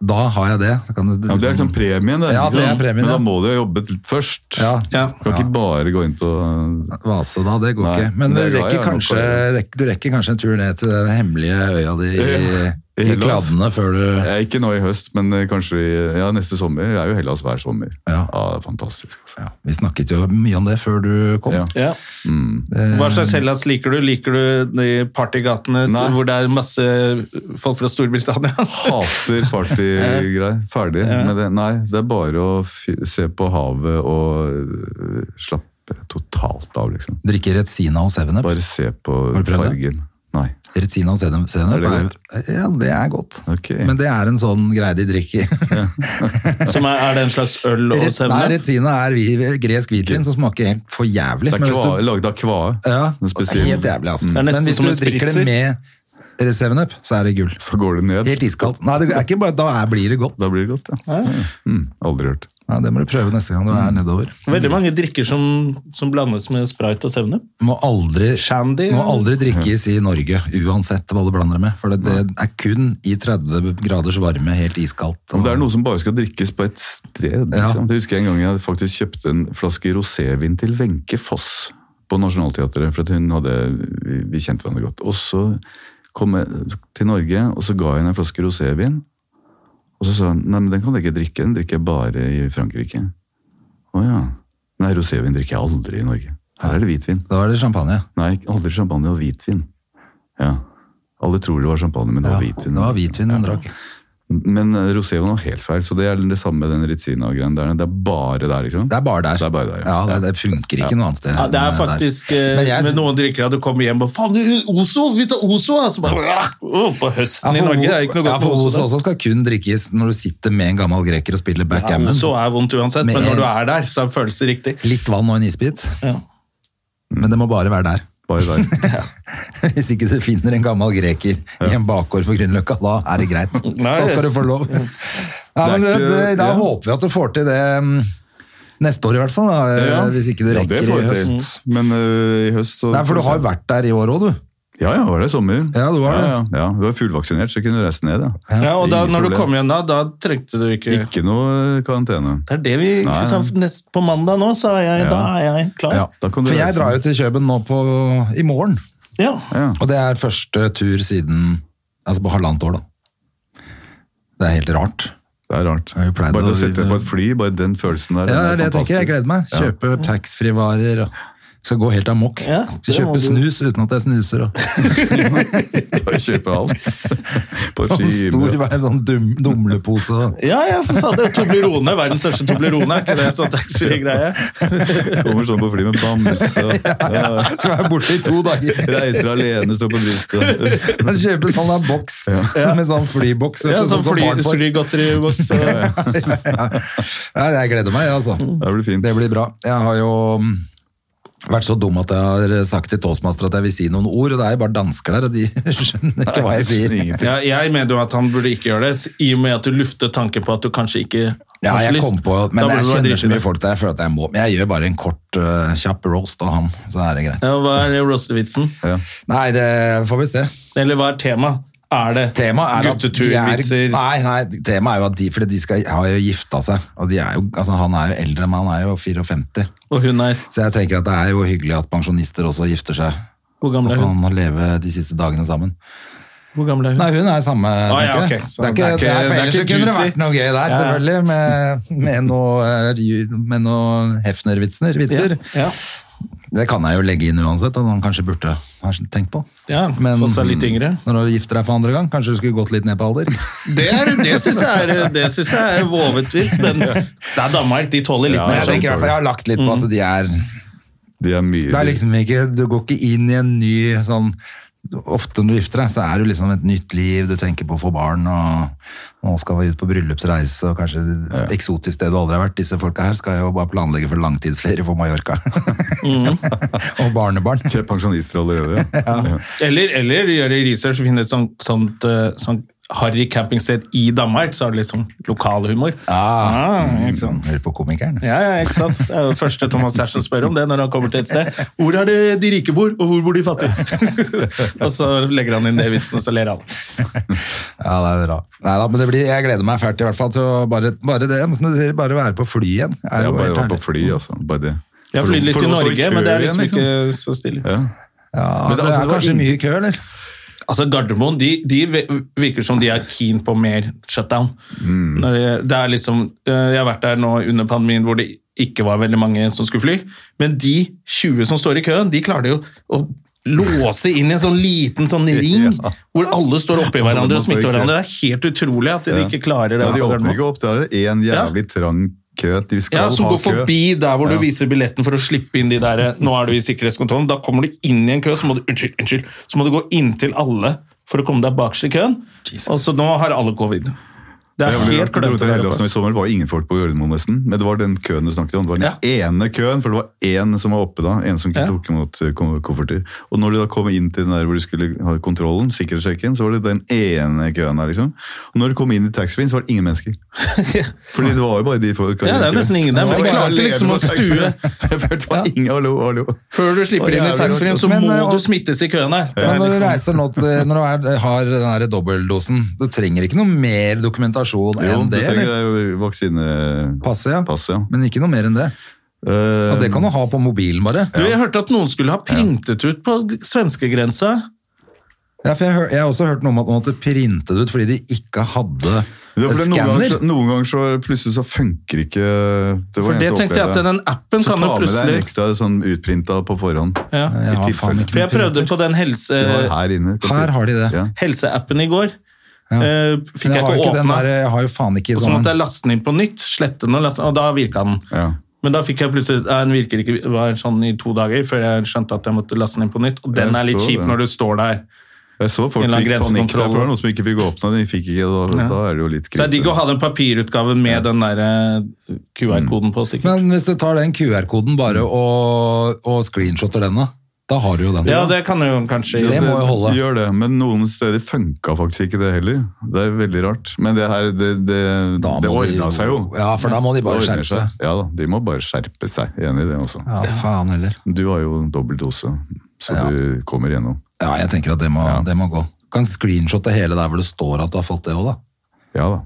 S1: da har jeg det. Da Kan
S3: Ja, men det er liksom premien, det.
S1: Ja,
S3: ikke
S1: det er
S3: sant?
S1: premien,
S3: men
S1: ja.
S3: da må du jo jobbe til- først.
S1: Ja.
S2: Ja.
S3: Du kan ikke bare gå inn til å
S1: Vase da, det går
S3: Nei,
S1: ikke. Men du
S3: det er glad
S1: rekker,
S3: jeg er nok
S1: kanskje,
S3: for
S1: rekk- du rekker kanskje en tur ned til den hemmelige øya di i,
S3: I
S1: i
S3: Hellas.
S1: kladdene før du
S3: Ja, Ikke nå i høst, men eh, kanskje i, ja, neste sommer. Jeg er jo i Hellas hver sommer.
S1: Ja.
S3: det er fantastisk. Altså.
S1: ja, Vi snakket jo mye om det før du kom.
S3: Ja.
S2: ja.
S3: Mm.
S2: Hva slags Hellas liker du? Liker du de partygatene
S3: Nei.
S2: hvor det er masse folk fra Storbritannia?
S3: Hater partygreier. Ferdig med det. Nei, det er bare å fi- se på havet og øh, slappe totalt av, liksom.
S1: Drikke Retsina og Seven Up.
S3: Bare se på
S1: Har du prøvd det?
S3: fargen. Nei.
S1: Retsina og Seven Seven
S3: Er
S1: Up
S3: det
S1: er, ja, det er godt.
S3: Ok.
S1: Men det er en sånn greie de drikker.
S2: Som er, er det en slags øl og
S1: Rets- Nei,
S2: sevne?
S1: Retsina er vi- gresk hvitvin som smaker helt for jævlig.
S3: Det er
S1: Men hvis du-
S3: kva, laget av kvae.
S1: Ja,
S3: Noe spesielt.
S1: helt jævlig altså.
S2: er nesten
S1: Men hvis
S2: som
S1: du
S2: en
S1: drikker det
S2: spritzer.
S1: med Seven Up, så er det gull.
S3: Så går det ned.
S1: Helt iskaldt. Nei, det er ikke bare, da er, blir det godt.
S3: Da blir det godt, ja. Mm, aldri hørt.
S1: Nei, det må du prøve neste gang du er nedover.
S2: Veldig mange drikker som, som blandes med sprite og sevne.
S1: Må aldri,
S2: Shandy,
S1: må
S2: eller?
S1: aldri drikkes i Norge, uansett hva du blander det med. For det, det er kun i 30 graders varme, helt iskaldt.
S3: Men det er noe som bare skal drikkes på et sted. Liksom. Det husker jeg en gang jeg faktisk kjøpte en flaske rosévin til Wenche Foss på Nationaltheatret, for at hun hadde, vi, vi kjente hverandre godt. Og så kom jeg til Norge, og så ga jeg henne en flaske rosévin. Og så sa hun nei, men den kan du ikke drikke, den drikker jeg bare i Frankrike. Å ja. Nei, rosévin drikker jeg aldri i Norge. Her er det hvitvin.
S1: Da er det champagne.
S3: Nei, aldri champagne, det var hvitvin. Ja. Alle tror det var champagne, men det var hvitvin.
S1: Det var hvitvin hun drakk.
S3: Men eh, Rosé var noe helt feil, så det er det samme med den Rizzina-greien der. Det er bare der, liksom.
S1: Det er bare der.
S3: Det er bare der,
S1: ja.
S3: ja.
S1: det, det funker ikke noe annet sted.
S2: Ja, det er
S1: enn
S2: faktisk
S1: der.
S2: eh,
S1: Men jeg
S2: med
S1: synes-
S2: noen drikker at du kommer hjem og faen, Ozo, vi tar Ozo! Og så bare, «Åh, åh, på
S1: Ja,
S2: høsten i
S1: for
S2: Norge det er ikke noe
S1: ja,
S2: godt
S1: for
S2: med Ozo.
S1: Ozo
S2: da.
S1: også skal kun drikkes når du sitter med en gammel greker og spiller
S2: Ja,
S1: backgammon.
S2: Ozo er vondt uansett,
S1: Med-
S2: men når du er der, så er følelsen riktig.
S1: Litt vann og en isbit.
S2: Ja.
S1: Men det må bare være der.
S3: Bare der.
S1: Hvis ikke du finner en gammel greker i en bakgård på Grünerløkka, da er det greit.
S2: Nei.
S1: Da skal du få lov. Ja, men det,
S3: Det er
S1: det,
S3: ikke-
S1: da
S3: ja.
S1: håper vi at du får til det mm, neste år i hvert fall, da, eh,
S3: Ja.
S1: hvis ikke du
S3: Ja,
S1: rekker
S3: det får
S1: i
S3: jeg til.
S1: høst.
S3: Men eh, i høst så
S1: Nei, for du har jo vært der i år òg, du.
S3: Ja, ja, var det i sommer.
S1: Ja, du var det.
S3: Ja, ja, ja. Du var fullvaksinert, så kunne du reise ned, ja.
S2: Ja, og da,
S3: Ingen
S2: når du
S3: problem.
S2: kom hjem da, da trengte du ikke
S3: Ikke noe eh, karantene.
S2: Det er det vi ikke sant, nest, På mandag nå, så er jeg,
S3: Ja.
S2: da er jeg klar. Ja.
S3: Da kan du
S1: For jeg
S3: reise.
S1: drar jo til Kjøben nå på, i morgen,
S3: Ja.
S1: og det er første tur siden Altså på halvannet år, da. Det er helt rart.
S3: Det er rart.
S1: Ja, vi pleide
S3: Bare det
S1: å-
S3: å sette deg på et fly, bare den følelsen
S1: Ja, det
S3: der. den
S1: er det jeg tenker. Jeg gleder meg.
S3: Ja.
S1: Kjøpe taxfree-varer og skal gå helt amok.
S2: Ja,
S1: Skal
S2: det må
S1: kjøpe
S2: du.
S1: snus uten at jeg snuser. Og.
S3: Bare kjøpe alt. På et
S1: Sånn
S3: fly.
S1: stor hver sånn dum, dumlepose. og-
S2: Ja, ja, for faen, det er Toblerone, verdens største Toblerone, er ikke det sånn taxfree-greie?
S3: Kommer sånn på fly med bamse. og- Ja.
S1: Skal være borte i to dager.
S3: Reiser alene, står på brystet.
S1: Kan kjøpe sånn der boks med sånn flyboks. vet
S2: Ja,
S1: du,
S2: sånn
S1: som
S2: fly,
S1: barn får.
S2: flygodteriboks.
S1: Ja, jeg gleder meg, altså.
S3: Det blir fint.
S1: Det blir bra. Jeg har jo mm, vært så dum at jeg har sagt til Toastmaster at jeg vil si noen ord, og det er jo bare dansker der, og de skjønner ikke hva jeg sier.
S3: Ingenting.
S2: Ja, jeg mener jo at han burde ikke gjøre det, i og med at du luftet tanken på at du kanskje ikke
S1: Ja,
S2: har så
S1: jeg
S2: lyst.
S1: kom på,
S2: Da
S1: men
S2: burde
S1: jeg
S2: du være
S1: kjenner så mye
S2: dritkjip.
S1: folk der, jeg føler at jeg må. Men jeg gjør bare en kort, øh, kjapp roast av han, så er det greit.
S2: Ja, hva er roastevitsen?
S3: Ja.
S1: Nei, det får vi se.
S2: Eller hva er temaet? Er det
S1: Temaet er at de er,
S2: gutteturvitser?
S1: nei, nei, temaet er jo at de, fordi de skal, har jo gifta seg, og de er jo, altså, han er jo eldre enn meg, han er jo 54.
S2: Og hun er
S1: Så jeg tenker at det er jo hyggelig at pensjonister også gifter seg,
S2: Hvor
S1: og
S2: gammel er hun?
S1: kan leve de siste dagene sammen.
S2: Hvor gammel er hun?
S1: Nei, hun er samme,
S2: Ah, ja,
S1: tenker jeg.
S2: ok. Så
S1: Det er ikke, det er for
S2: det er
S1: ellers
S2: ikke
S1: kunne det
S2: juicy.
S1: vært noe gøy der,
S2: Ja, ja.
S1: selvfølgelig, med, med noe, øh, med noe Hefner-vitser. vitser.
S2: Ja, ja.
S1: Det kan jeg jo legge inn uansett, at han kanskje burde ha tenkt på.
S2: Ja, fått seg litt yngre.
S1: Når du gifter deg for andre gang, kanskje du skulle gått litt ned på alder.
S2: Det, er- det syns jeg er, det synes jeg er vovet vits, men det er Danmark, de tåler litt
S3: Ja,
S2: mer. sånn.
S1: jeg tenker i hvert fall jeg har lagt litt på
S2: Mm.
S1: at de er
S3: De er mye
S1: Det er liksom ikke Du går ikke inn i en ny sånn Ofte når du gifter deg, så er det liksom et nytt liv, du tenker på å få barn, og nå skal vi ut på bryllupsreise, og kanskje et eksotisk sted du aldri har vært. Disse folka her skal jo bare planlegge for langtidsferie på Mallorca.
S2: Mm.
S1: og barnebarn.
S3: De er pensjonister allerede. Ja.
S2: Eller, eller gjøre research og finne et sånt, sånt, eh, sånn harry campingsted i Danmark, så er det litt sånn lokalhumor.
S1: Ah.
S2: Ah, ikke sant?
S1: Hører på komikeren.
S2: Ja, ja, ikke sant? Det er jo det første Thomas Hersen spør om det når han kommer til et sted. Hvor er det de rike bor, og hvor bor de fattige? og så legger han inn det vitsen, og så ler alle.
S1: Ja, det er bra. Nei da, men det blir, jeg gleder meg fælt i hvert fall til å bare, bare det, som du sier, bare være på fly igjen. Er
S3: Ja,
S1: jo
S3: bare
S1: helt
S3: var på
S1: herlig.
S3: fly, altså. Bare det.
S2: Jeg har
S3: For-
S2: flydd litt
S3: for
S2: i
S3: å stå
S2: Norge,
S3: kø
S2: men det er
S3: igjen,
S2: liksom
S3: liksom.
S2: ikke så stille.
S3: Ja.
S1: Ja, det,
S3: Men det- altså,
S1: er
S3: det var
S1: kanskje
S3: ingen-
S1: mye kø, eller?
S2: Altså, Gardermoen de, de virker som de er keen på mer shutdown.
S3: Mm.
S2: Når det- Det er liksom, eh, jeg har vært der nå under pandemien hvor det ikke var veldig mange som skulle fly, men de 20 som står i køen, de klarer jo å låse inn i en sånn liten sånn ring
S3: Ja.
S2: hvor alle står oppi hverandre
S3: Alle
S2: og
S3: må stå i
S2: smitter
S3: kø.
S2: hverandre. Det er helt utrolig at de
S3: Ja.
S2: ikke klarer det.
S3: Ja, de
S2: på
S3: åpner
S2: Gardermoen.
S3: ikke opp. Det er en jævlig trang kø. De skal
S2: Ja, som
S3: ha
S2: går
S3: kø.
S2: forbi der hvor du viser billetten for å slippe inn de der eh, Nå er du i sikkerhetskontrollen. Da kommer du inn i en kø, så må du, unnskyld, unnskyld, så må du gå inntil alle for å komme deg bakst i køen. Og så nå har alle covid. Det
S3: Det
S2: er
S3: er veldig rart.
S2: helt
S3: Jeg dro
S2: klønete.
S3: til
S2: der
S3: Hellas nå I
S2: oppe.
S3: sommer var det ingen folk på Gardermoen, nesten. Men det var den køen du snakket om. Det var den ene køen, for det var én som var oppe da. En som
S2: Ja.
S3: tok imot eh, kom- kofferter. Og når du da kom inn til den der hvor du skulle ha kontrollen, sikkerhetssjekken, så var det den ene køen der, liksom. Og når du kom inn i taxfree-en, så var det ingen mennesker. Fordi det var jo bare de folk.
S2: Ja, det er nesten ingen der, men de klarte liksom å stue.
S3: Jeg følte det var ingen, hallo, hallo.
S2: Før du slipper inn i
S3: Jævlig altså.
S2: taxfree-en, så
S1: Men,
S2: må
S1: eh, og-
S2: du smittes i køen her. Det er
S1: Men når du
S2: liksom-
S1: reiser nå til, når du er, har den her dobbeldosen, du trenger ikke noe mer dokumentasjon
S3: Jo,
S1: enn
S3: du
S1: det,
S3: trenger
S1: eller?
S3: deg vaksinepass,
S1: Passet, ja.
S3: ja.
S1: Men ikke noe mer enn det.
S3: Eh,
S1: Og det kan du ha på mobilen bare.
S2: Du, jeg hørte at noen skulle ha printet ut på svenskegrensa.
S1: Ja, for jeg, hør, jeg har også hørt noe om at man måtte printe det ut fordi de ikke hadde
S3: Ja, for det er noen, ganger,
S1: skanner.
S3: så- noen ganger så plutselig så funker ikke det var
S2: For
S3: en
S2: det
S3: som
S2: tenkte jeg at
S3: opplevde.
S2: den appen
S3: Så ta
S2: kan jo
S3: med deg en
S2: plutselig
S3: ekstra sånn utprinta på forhånd.
S1: Jeg
S2: ja.
S3: i
S1: har faen
S3: tilfelle.
S1: ikke
S2: For jeg
S1: noen printer.
S2: prøvde på den
S3: Det var
S2: helse,
S3: her inne.
S1: Her har de det.
S3: Ja.
S2: helseappen i går.
S1: Ja.
S2: Eh, Fikk
S1: Men
S2: jeg
S1: har jo
S2: ikke
S1: den
S2: åpna.
S1: der- Jeg har jo faen ikke
S2: Og så
S1: sånn
S2: måtte jeg laste den inn på nytt, slette den, og, laste, og da virka den.
S3: Ja.
S2: Men da fikk jeg plutselig, ja, den virker ikke, det var sånn i to dager før jeg skjønte at jeg måtte laste den inn på nytt. Og den
S3: Jeg
S2: er litt
S3: så
S2: kjip
S3: det.
S2: når du står der.
S3: Jeg så folk
S2: En eller
S3: fikk panikk
S2: annen
S3: der,
S2: grensekontroll.
S3: for det var noen som ikke fikk åpna. De fikk ikke, da,
S2: Ja.
S3: da er det jo litt
S2: Så det
S3: krise.
S2: er digg å ha den papirutgaven med den der eh, QR-koden på, sikkert.
S1: Men hvis du tar den QR-koden bare
S3: Mm.
S1: og, og screenshotter den, da, da har du jo den.
S2: ja, det kan jo kanskje
S1: Det må jo holde.
S3: Gjør det, men noen steder funka faktisk ikke det heller. Det er veldig rart. Men det her, det, det,
S1: Da må
S3: det ordna
S1: de-
S3: seg jo.
S1: Ja, for da må de bare
S3: Det ordner
S1: skjerpe seg.
S3: Ja da, de må bare skjerpe seg. Enig i det også.
S1: Ja, faen heller.
S3: Du har jo dobbel dose, så
S1: Ja.
S3: du kommer gjennom.
S1: Ja, jeg tenker at det må, det må gå. Kan screenshotte hele der hvor det står at du har fått det òg, da.
S3: Ja da.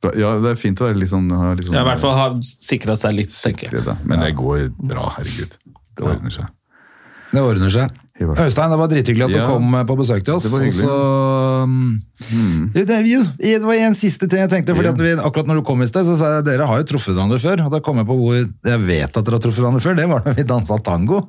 S3: Da- Ja, det er fint å være litt sånn, ha litt sånn
S2: Ja, I hvert fall ha sikra seg litt, tenker jeg.
S3: redd, da. Men det går bra, herregud. Det ordner seg.
S1: Det ordner seg.
S3: i hvert fall.
S1: Øystein, det var drithyggelig at du
S3: Ja.
S1: kom eh, på besøk til oss.
S3: Det var hyggelig. Mm.
S1: og så, um, det, er jo- det var en siste ting jeg tenkte, fordi
S3: Ja.
S1: at vi, akkurat når du kom i sted, så sa jeg dere har jo truffet hverandre før. Og da kom jeg på hvor jeg vet at dere har truffet hverandre før. Det var da vi dansa tango.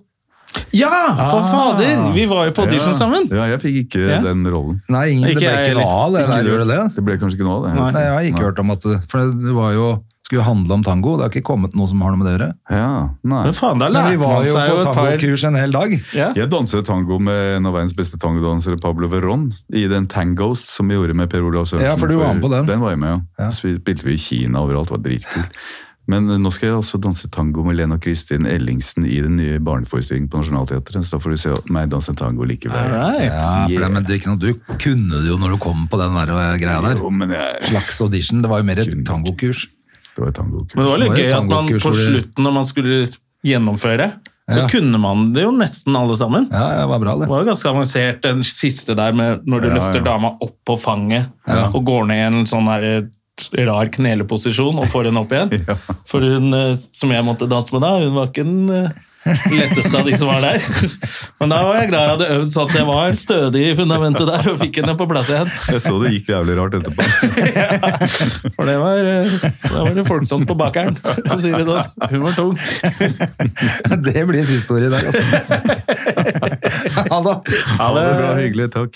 S2: Ja, for
S1: Ah.
S2: fader! Vi var jo på audition sammen.
S3: Ja, jeg fikk ikke
S2: Ja.
S3: den rollen.
S1: Nei, ingen, det
S2: Ikke
S1: ble
S2: jeg
S1: ikke
S2: heller.
S1: noe av det
S3: Ikke
S1: der, gjorde det det?
S3: Det ble kanskje ikke noe av det.
S2: Nei.
S1: Nei, jeg har ikke hørt om at det, For det var jo, skulle jo handle om tango. Det har ikke kommet noe som har noe med dere.
S3: Ja, nei.
S2: Men faen, da
S1: Men vi
S2: lærte
S1: var
S2: man
S1: jo
S2: seg jo
S1: på
S2: et par
S1: tangokurs en hel dag.
S2: ja.
S3: Jeg danset tango med en av verdens beste tangodansere, Pablo Verón, i den Tangos som vi gjorde med Per Olav Sørensen.
S1: Ja, for du var med på den.
S3: Den var jeg med, ja.
S1: Ja.
S3: Så vi- spilte vi i Kina overalt, det var dritkult. Men eh, nå skal jeg også danse tango med Lena Kristin Ellingsen i den nye barneforestillingen på Nationaltheatret, så da får du se meg danse tango likevel.
S2: All right.
S1: Ja, for det, men det, er ikke noe, du kunne det jo når du kom på den der eh, greia der.
S3: Jo, men jeg,
S1: Slags audition. Det var jo mer et
S3: Kunne-
S1: tangokurs.
S3: det var tangokurs.
S2: Men det var litt
S1: Det var jo
S2: gøy at man
S1: tangokurs
S2: på
S1: hvor det-
S2: slutten, når man skulle gjennomføre, så
S1: Ja.
S2: kunne man det jo nesten alle sammen.
S1: Ja, ja, det var bra, det.
S2: Det var jo ganske avansert, den siste der med når du løfter dama opp på fanget og går ned i en sånn her eh, rar kneleposisjon og får henne opp igjen. For hun eh, som jeg måtte danse med da, hun var ikke den eh, letteste av de som var der. Men da var jeg glad jeg hadde øvd så at jeg var stødig i fundamentet der og fikk henne på plass igjen.
S3: Jeg så det gikk jævlig rart etterpå.
S2: For det var, eh, da var det folksomt på bakeren, så sier vi sånn. Hun var tung.
S1: Det blir siste ordet i dag, altså. Ha det.
S3: Ja, det var bra, hyggelig, takk.